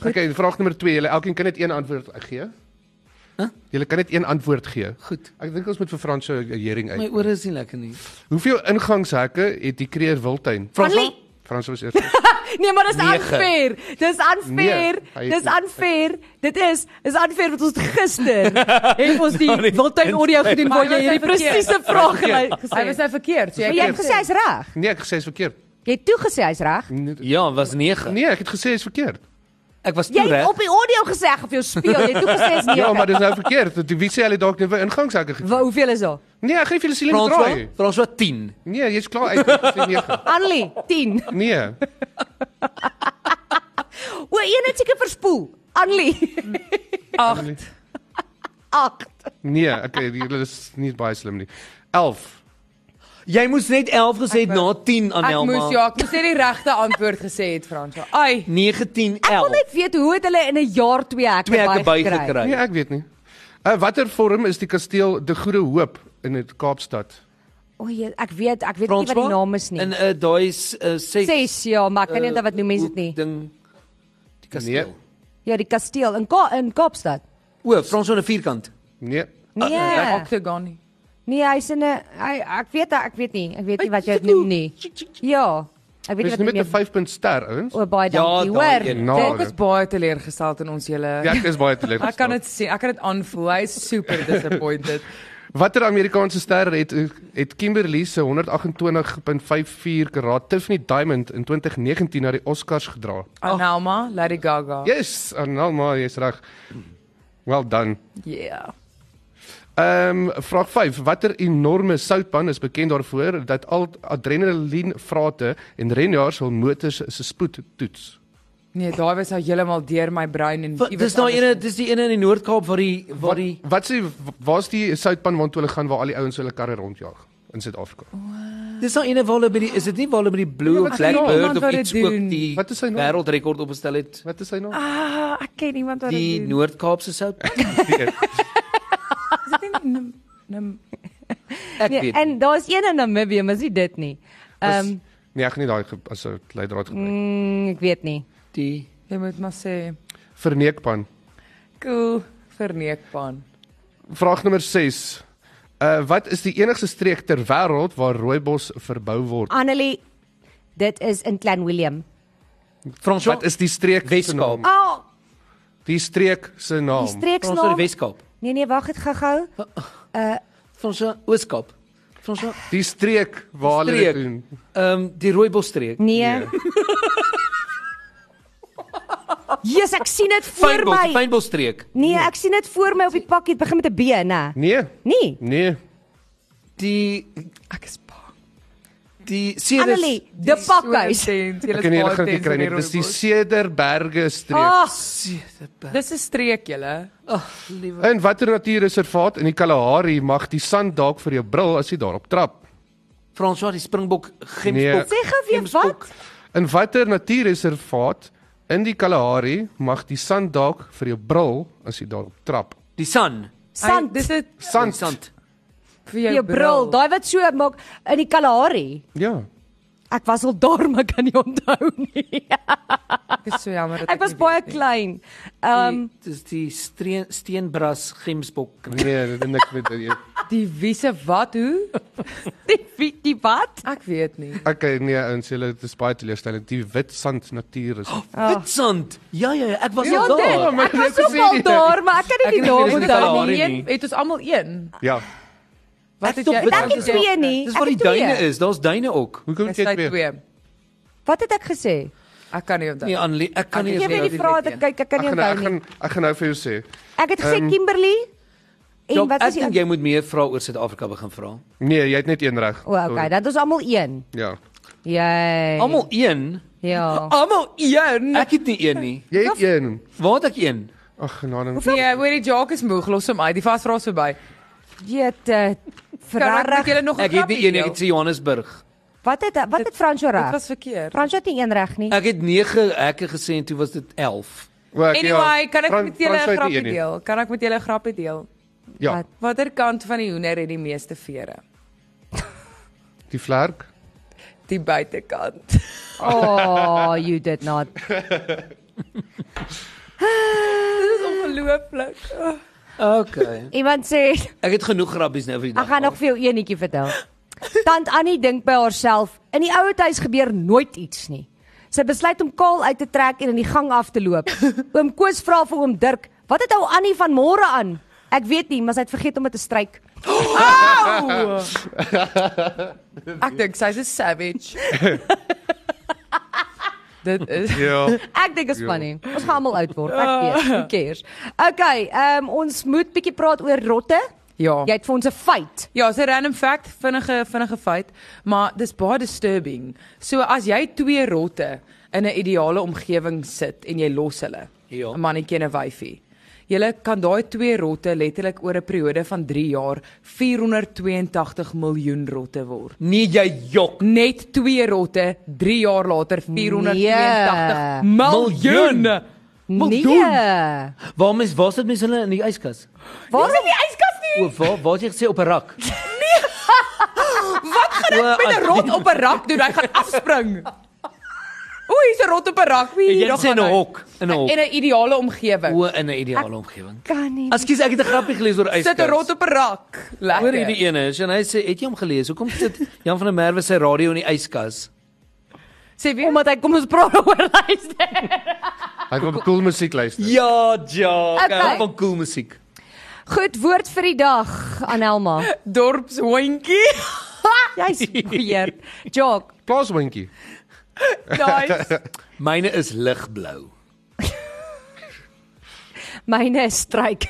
Speaker 3: Okay, vraag nommer 2. Julle elkeen kan net een antwoord gee. Hæ? Julle kan net een antwoord gee.
Speaker 5: Goed.
Speaker 3: Ek dink ons moet vir Frans se hering
Speaker 5: My
Speaker 3: uit.
Speaker 5: ore is nie lekker nie.
Speaker 3: Hoeveel ingangshekke het die Kreer Wildtuin?
Speaker 2: Annelie.
Speaker 3: Frans was eerste.
Speaker 2: Nee, maar dis
Speaker 5: Nege.
Speaker 2: unfair. Dis unfair.
Speaker 3: Nee, hy het
Speaker 2: Dis
Speaker 3: nie.
Speaker 2: unfair. Dit is is unfair wat ons gister het ons die
Speaker 5: Sorry,
Speaker 2: Wildtuin Oreo gedoen waar jy
Speaker 4: Maar hy
Speaker 2: hierdie
Speaker 4: was nou
Speaker 2: presiese vraag gelei
Speaker 4: Hy
Speaker 2: gesê
Speaker 4: was
Speaker 2: het.
Speaker 4: nou verkeerd. So
Speaker 2: Maar jy het gesê hy's reg.
Speaker 3: Nee, ek gesê is verkeerd.
Speaker 2: Jy het toe gesê hy's reg.
Speaker 3: Nee,
Speaker 5: Ja, was 9.
Speaker 3: nee, ek het gesê is verkeerd.
Speaker 5: Ek was toe
Speaker 2: Jy het
Speaker 5: reg.
Speaker 2: op die audio gesê ek gaan vir jou speel. Jy het toe gesê is
Speaker 3: Ja,
Speaker 2: nee.
Speaker 3: maar dis nou verkeerd. Dat die wie sê hulle dalk net ingangshekke. ge-
Speaker 2: Wa- Hoeveel is daar?
Speaker 3: Nee, ek gee vir julle siele
Speaker 5: Frans
Speaker 3: draai.
Speaker 5: was Frans was 10.
Speaker 3: Nee, jy's klaar uit. Ek sê nee.
Speaker 2: Annelie, 10.
Speaker 3: Nee.
Speaker 2: O, een het seker verspoel. Annelie,
Speaker 4: 8.
Speaker 2: 8.
Speaker 3: Nee, okay, julle is nie baie slim nie. 11.
Speaker 5: Jy moes net 11 gesê het na 10
Speaker 4: Ek
Speaker 5: Anelma.
Speaker 4: moes ja, ek moes net die regte antwoord gesê het, Frans. Ai.
Speaker 5: 19
Speaker 2: Ek wil
Speaker 5: 11.
Speaker 2: net weet hoe het hulle in 'n jaar twee hekke
Speaker 5: Twee hekke
Speaker 2: by gekry?
Speaker 5: bygekry.
Speaker 3: Nee, ek weet nie. Uh, watter vorm is die kasteel De Goede Hoop in dit Kaapstad?
Speaker 2: O, jy, ek weet, ek weet nie
Speaker 5: Frans
Speaker 2: wat die naam is nie.
Speaker 5: En Eh, uh, daai is uh, 6.
Speaker 2: 6 ja, maar ek kan nie onthou wat noem mense dit nie.
Speaker 5: Ding die kasteel.
Speaker 3: Nee.
Speaker 2: Ja, die kasteel in Ka in Kaapstad.
Speaker 5: O, Frans van 'n vierkant.
Speaker 3: Nee.
Speaker 4: ja,
Speaker 2: Nee.
Speaker 4: Octagon. nie.
Speaker 2: Nee, hy's in 'n hy ek weet ek weet nie. Ek weet nie wat jy dit noem nie. Ja. Ek weet nie
Speaker 3: Dis
Speaker 2: wat
Speaker 3: nie
Speaker 2: dit
Speaker 3: met 'n
Speaker 2: noem nie.
Speaker 3: 5-punt ster, ouens.
Speaker 2: O, baie
Speaker 5: Ja,
Speaker 2: dankie.
Speaker 5: daai
Speaker 2: Hoor.
Speaker 5: een.
Speaker 3: Nou,
Speaker 4: Ek is baie teleurgesteld in ons hele
Speaker 3: ja, ek is baie teleurgestel.
Speaker 4: Ek kan dit sien. Ek kan dit aanvoel. Hy is super disappointed.
Speaker 3: Watter Amerikaanse ster het het Kimberly se 128.54 karaat Tiffany Diamond in 2019 na die Oscars gedra?
Speaker 4: Anelma, Lady Gaga.
Speaker 3: Yes, Arnalma, jy's reg. Well done.
Speaker 4: Yeah.
Speaker 3: Ehm um, vraag 5. Watter enorme soutpan is bekend daarvoor dat al adrenalienvrate en renjaars hul motors se spoed toets?
Speaker 4: Nee, daai was nou heeltemal deur my brein en
Speaker 5: Wat-
Speaker 4: iewers
Speaker 5: Dis nou
Speaker 4: anders.
Speaker 5: ene, dis die ene in die Noord-Kaap waar die waar
Speaker 3: Wat
Speaker 5: die
Speaker 3: wat sê waar's die soutpan waartoe hulle gaan waar al die ouens hulle karre rondjaag in Suid-Afrika?
Speaker 5: dis nou ene waar hulle by die is dit nie waar hulle by die
Speaker 3: Ja,
Speaker 5: Blue
Speaker 3: wat is
Speaker 5: Blackbird
Speaker 4: iemand
Speaker 5: of
Speaker 4: wat
Speaker 5: iets
Speaker 4: dit
Speaker 5: ook
Speaker 4: doen?
Speaker 5: die
Speaker 3: Wat is nou? sy naam?
Speaker 5: wêreldrekord opgestel het?
Speaker 3: Wat is hy nou?
Speaker 4: Ah, ek ken iemand wat
Speaker 5: Die
Speaker 4: dit doen.
Speaker 5: Noord-Kaapse soutpan.
Speaker 4: Is dit nie nou- nim- nim-
Speaker 5: Ek
Speaker 2: Nee,
Speaker 5: weet.
Speaker 2: en daar's een in Namibië, maar is nie dit nie. Ehm um,
Speaker 3: Nee, ek gaan nie daai ge- as 'n leidraad gebruik. Mm.
Speaker 2: mm, ek weet nie.
Speaker 5: Die
Speaker 4: Jy moet maar sê.
Speaker 3: Verneekpan.
Speaker 4: Cool, verneekpan.
Speaker 3: Vraag nommer 6. Uh wat is die enigste streek ter wêreld waar rooibos verbou word?
Speaker 2: Annelie, dit is in Clan William.
Speaker 5: François,
Speaker 3: Wat is nou? die streek se
Speaker 5: Weskaap.
Speaker 3: naam?
Speaker 2: Ah, oh,
Speaker 3: Die streek se
Speaker 2: die
Speaker 3: naam.
Speaker 5: François die
Speaker 2: streeksnaam.
Speaker 5: Weskaap.
Speaker 2: Nee nee, wag, dit gou-gou.
Speaker 5: François Ooskaap. François
Speaker 3: Die streek waar hulle
Speaker 5: streek.
Speaker 3: dit doen.
Speaker 5: Ehm um, die rooibos streek.
Speaker 2: Nee. Jesus, ek sien dit voor
Speaker 5: Fynbos,
Speaker 2: my.
Speaker 5: Fynbos streek.
Speaker 2: Nee, ek sien dit voor my op die pakkie. Dit begin met 'n B, né?
Speaker 3: Nee.
Speaker 2: Nee.
Speaker 3: Nee.
Speaker 5: Die
Speaker 4: Ek is bang.
Speaker 5: die sewe
Speaker 2: Annelie, die pakhuis.
Speaker 4: Jy
Speaker 3: Ek kan nie regtig nie kry nie. Dis die Cederberge
Speaker 4: Ah.
Speaker 3: streek.
Speaker 2: Ag,
Speaker 4: Dis 'n streek julle.
Speaker 5: Ag, liewe.
Speaker 3: In watter natuurreservaat in die Kalahari mag die sand dalk vir jou bril as jy daarop trap?
Speaker 5: François die Springbok gemsbok.
Speaker 2: sê gou weer wat?
Speaker 3: In watter natuurreservaat in die Kalahari mag die sand dalk vir jou bril as jy daarop trap?
Speaker 5: Die son.
Speaker 4: Ai,
Speaker 2: Sand.
Speaker 4: Dis 'n
Speaker 3: Sand.
Speaker 5: Sand.
Speaker 4: vir
Speaker 2: Jou bril, daai wat so maak in die Kalahari.
Speaker 3: Ja.
Speaker 2: Ek was al daar, maar ek kan nie onthou nie.
Speaker 4: Ek is so jammer dat
Speaker 2: Ek was
Speaker 4: nie
Speaker 2: baie
Speaker 4: weet nie.
Speaker 2: klein. Ehm um,
Speaker 5: Dis die streen, steenbras gemsbok.
Speaker 3: Nee, dit het niks met dit.
Speaker 4: Die wiese wat hoe?
Speaker 2: die wie- die wat?
Speaker 4: Ek weet nie.
Speaker 3: Okay, nee, ons julle dit is baie teleurstellend. Die wit sand natuur is.
Speaker 5: Wit sand. Ja ja ja, ek was
Speaker 2: Ah. Ja,
Speaker 5: al daar.
Speaker 2: dit.
Speaker 3: maar
Speaker 2: Ek was
Speaker 3: dit is
Speaker 2: ook al
Speaker 3: nie-
Speaker 2: daar, maar ek kan
Speaker 5: Nee, Ek
Speaker 2: nie die
Speaker 5: het nie
Speaker 2: naam
Speaker 5: gesien
Speaker 4: Onthou
Speaker 5: Kalahari
Speaker 2: onthou nie.
Speaker 4: nie een,
Speaker 5: nie.
Speaker 4: het ons almal een.
Speaker 3: Ja.
Speaker 4: Wat
Speaker 5: Ek
Speaker 4: het
Speaker 5: dop
Speaker 4: jy?
Speaker 5: wit
Speaker 2: Ek
Speaker 5: sand
Speaker 2: het twee nie.
Speaker 5: Dis
Speaker 2: Ek
Speaker 5: wat die
Speaker 2: het twee.
Speaker 5: duine is. Daar's duine ook.
Speaker 3: Hoekom
Speaker 4: Dis nou
Speaker 3: het jy
Speaker 4: tyd
Speaker 3: twee?
Speaker 4: 2.
Speaker 2: Wat het ek gesê?
Speaker 4: Ek kan nie onthou.
Speaker 5: Nee, Annelie, ek kan nie
Speaker 2: Ek
Speaker 5: eens
Speaker 2: het
Speaker 5: weet
Speaker 2: net
Speaker 5: wie
Speaker 2: die
Speaker 5: dit
Speaker 2: vrae
Speaker 5: is
Speaker 2: te
Speaker 5: nie.
Speaker 2: kyk, ek
Speaker 3: Ek
Speaker 2: kan nie
Speaker 3: gaan ek
Speaker 2: onthou
Speaker 3: gaan
Speaker 2: nie.
Speaker 3: ek gaan nou vir jou sê.
Speaker 2: Ek het gesê
Speaker 3: Ehm,
Speaker 2: Kimberley. En
Speaker 5: Dalk
Speaker 2: wat
Speaker 5: ek
Speaker 2: is
Speaker 5: dink
Speaker 2: die Ja.
Speaker 5: jy moet meer vra oor Suid-Afrika begin vra.
Speaker 3: Nee, jy het net een reg.
Speaker 2: O, oh, okay, dan is almal een.
Speaker 3: Ja.
Speaker 2: Jy.
Speaker 5: Almal een.
Speaker 2: Ja.
Speaker 4: Almal een.
Speaker 5: Ek het nie een nie.
Speaker 3: Jy het een.
Speaker 5: Waar het ek een?
Speaker 3: Ag, genade.
Speaker 4: Nee, hoorie Jacques is moeg, los hom uit. Die vasvrae is verby.
Speaker 2: Dit eh,
Speaker 4: Kan ek met
Speaker 2: verrarig.
Speaker 4: julle nog 'n
Speaker 5: Ek het nie
Speaker 4: grappie
Speaker 5: een nie, ek
Speaker 4: deel?
Speaker 5: het se Johannesburg.
Speaker 2: Wat het wat het Fransjo
Speaker 4: Dit
Speaker 2: reg?
Speaker 4: was verkeerd.
Speaker 2: Fransjo het nie een reg nie.
Speaker 5: Ek het 9 hekke gesê en toe was dit 11.
Speaker 3: Well,
Speaker 4: Anyway, kan ek met julle 'n grappie deel? Kan ek met julle 'n grappie deel?
Speaker 3: Ja,
Speaker 2: Wat?
Speaker 4: Watter kant van die hoender het die meeste vere?
Speaker 3: die vlerk.
Speaker 4: Die buitekant.
Speaker 2: Oh, you did not.
Speaker 4: Dit is ongelooflik. Oh.
Speaker 5: Okay.
Speaker 2: Iemand sê
Speaker 5: Ek het genoeg grappies nou vir die dag.
Speaker 2: Ek gaan nog vir jou eenetjie vertel. Tant Annie dink by haarself, in die ouer huis gebeur nooit iets nie. Sy besluit om kaal uit te trek en in die gang af te loop. Oom Koos vra vir oom Dirk, "Wat het ou Annie van môre aan?" Ek weet nie, maar sy het vergeet om dit te stryk.
Speaker 4: Ek dink sy's 'n savage. Dit is
Speaker 3: Ja.
Speaker 2: Ek dink dit is funny. Ons gaan almal oud word, ek weet. Who cares? Okay, ehm um, ons moet bietjie praat oor rotte.
Speaker 4: ja.
Speaker 2: Jy het vir ons 'n feit.
Speaker 4: Ja, so random fact, vinnige vinnige feit, maar dis baie disturbing. So as jy twee rotte in 'n ideale omgewing sit en jy los hulle.
Speaker 5: Ja.
Speaker 4: 'n Mannetjie en 'n wyfie. Jy kan daai twee rotte letterlik oor 'n periode van 3 jaar 482 miljoen rotte word.
Speaker 5: Nee, jy jok.
Speaker 4: Net twee rotte 3 jaar later 482
Speaker 2: Nee.
Speaker 4: miljoen. miljoen.
Speaker 2: Nee.
Speaker 5: Waarom is waar sit mens hulle in die yskas?
Speaker 2: Waar is die yskas nie?
Speaker 5: O, waar waar het jy gesê op 'n rak?
Speaker 4: Nee. Wat gaan
Speaker 5: O,
Speaker 4: ek met 'n
Speaker 5: as-
Speaker 4: rot op 'n rak doen? Hy gaan afspring. Oei, hy's 'n rot op 'n rak. Wie?
Speaker 5: Jy het gesê 'n hok, nou. in 'n
Speaker 4: in
Speaker 5: hok.
Speaker 4: 'n ideale omgewing.
Speaker 5: O, in 'n ideale omgewing.
Speaker 2: Kan nie.
Speaker 5: Ekskuus, ek het 'n grappie gelees oor yskas.
Speaker 4: Sit 'n rot op 'n rak.
Speaker 5: Hoor
Speaker 4: Lekker.
Speaker 5: hierdie ene, is, en hy sê, "Het jy hom gelees? Hoekom sit Jan van der Merwe sy radio in die yskas?"
Speaker 4: Sê wie?
Speaker 2: Omdat hy kom ons praat oor luister.
Speaker 3: Hy wil cool musiek luister.
Speaker 5: Ja, ja.
Speaker 2: Okay.
Speaker 5: Ek hou van cool musiek.
Speaker 2: Goed woord vir die dag, Anelma.
Speaker 4: dorpshondjie. Ja,
Speaker 2: Jy's weird. Jock,
Speaker 3: Plaaswindjie.
Speaker 4: nice.
Speaker 5: Myne is ligblou.
Speaker 2: myne is stryk.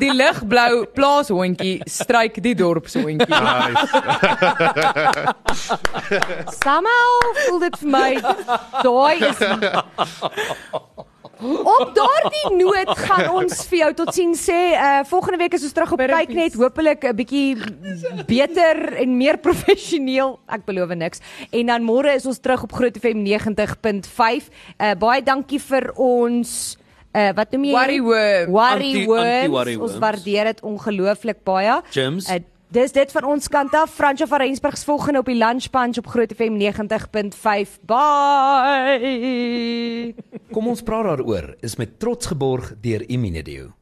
Speaker 4: Die ligblou plaashondjie stryk die dorpshondjie.
Speaker 2: Somehow voel dit vir my daai is Op daardie noot gaan ons vir jou tot sien sê uh volgende week is ons terug op
Speaker 4: Bidderpies.
Speaker 2: kyk net hopelik 'n bietjie beter en meer professioneel. Ek beloof niks. En dan môre is ons terug op Groot FM 90.5. Uh baie dankie vir ons uh wat noem jy?
Speaker 4: Worry worm.
Speaker 2: Worry
Speaker 5: Anti-
Speaker 2: worms.
Speaker 5: anti-worry
Speaker 2: Ons
Speaker 5: worms.
Speaker 2: waardeer dit ongelooflik baie.
Speaker 5: Gems.
Speaker 2: Uh, Dis dit van ons kant af. Fransjo van Rensburg se volgende op die Lunch Punch op Groot FM 90.5. Bye.
Speaker 6: Kom ons praat daaroor is met trots geborg deur Imunedio.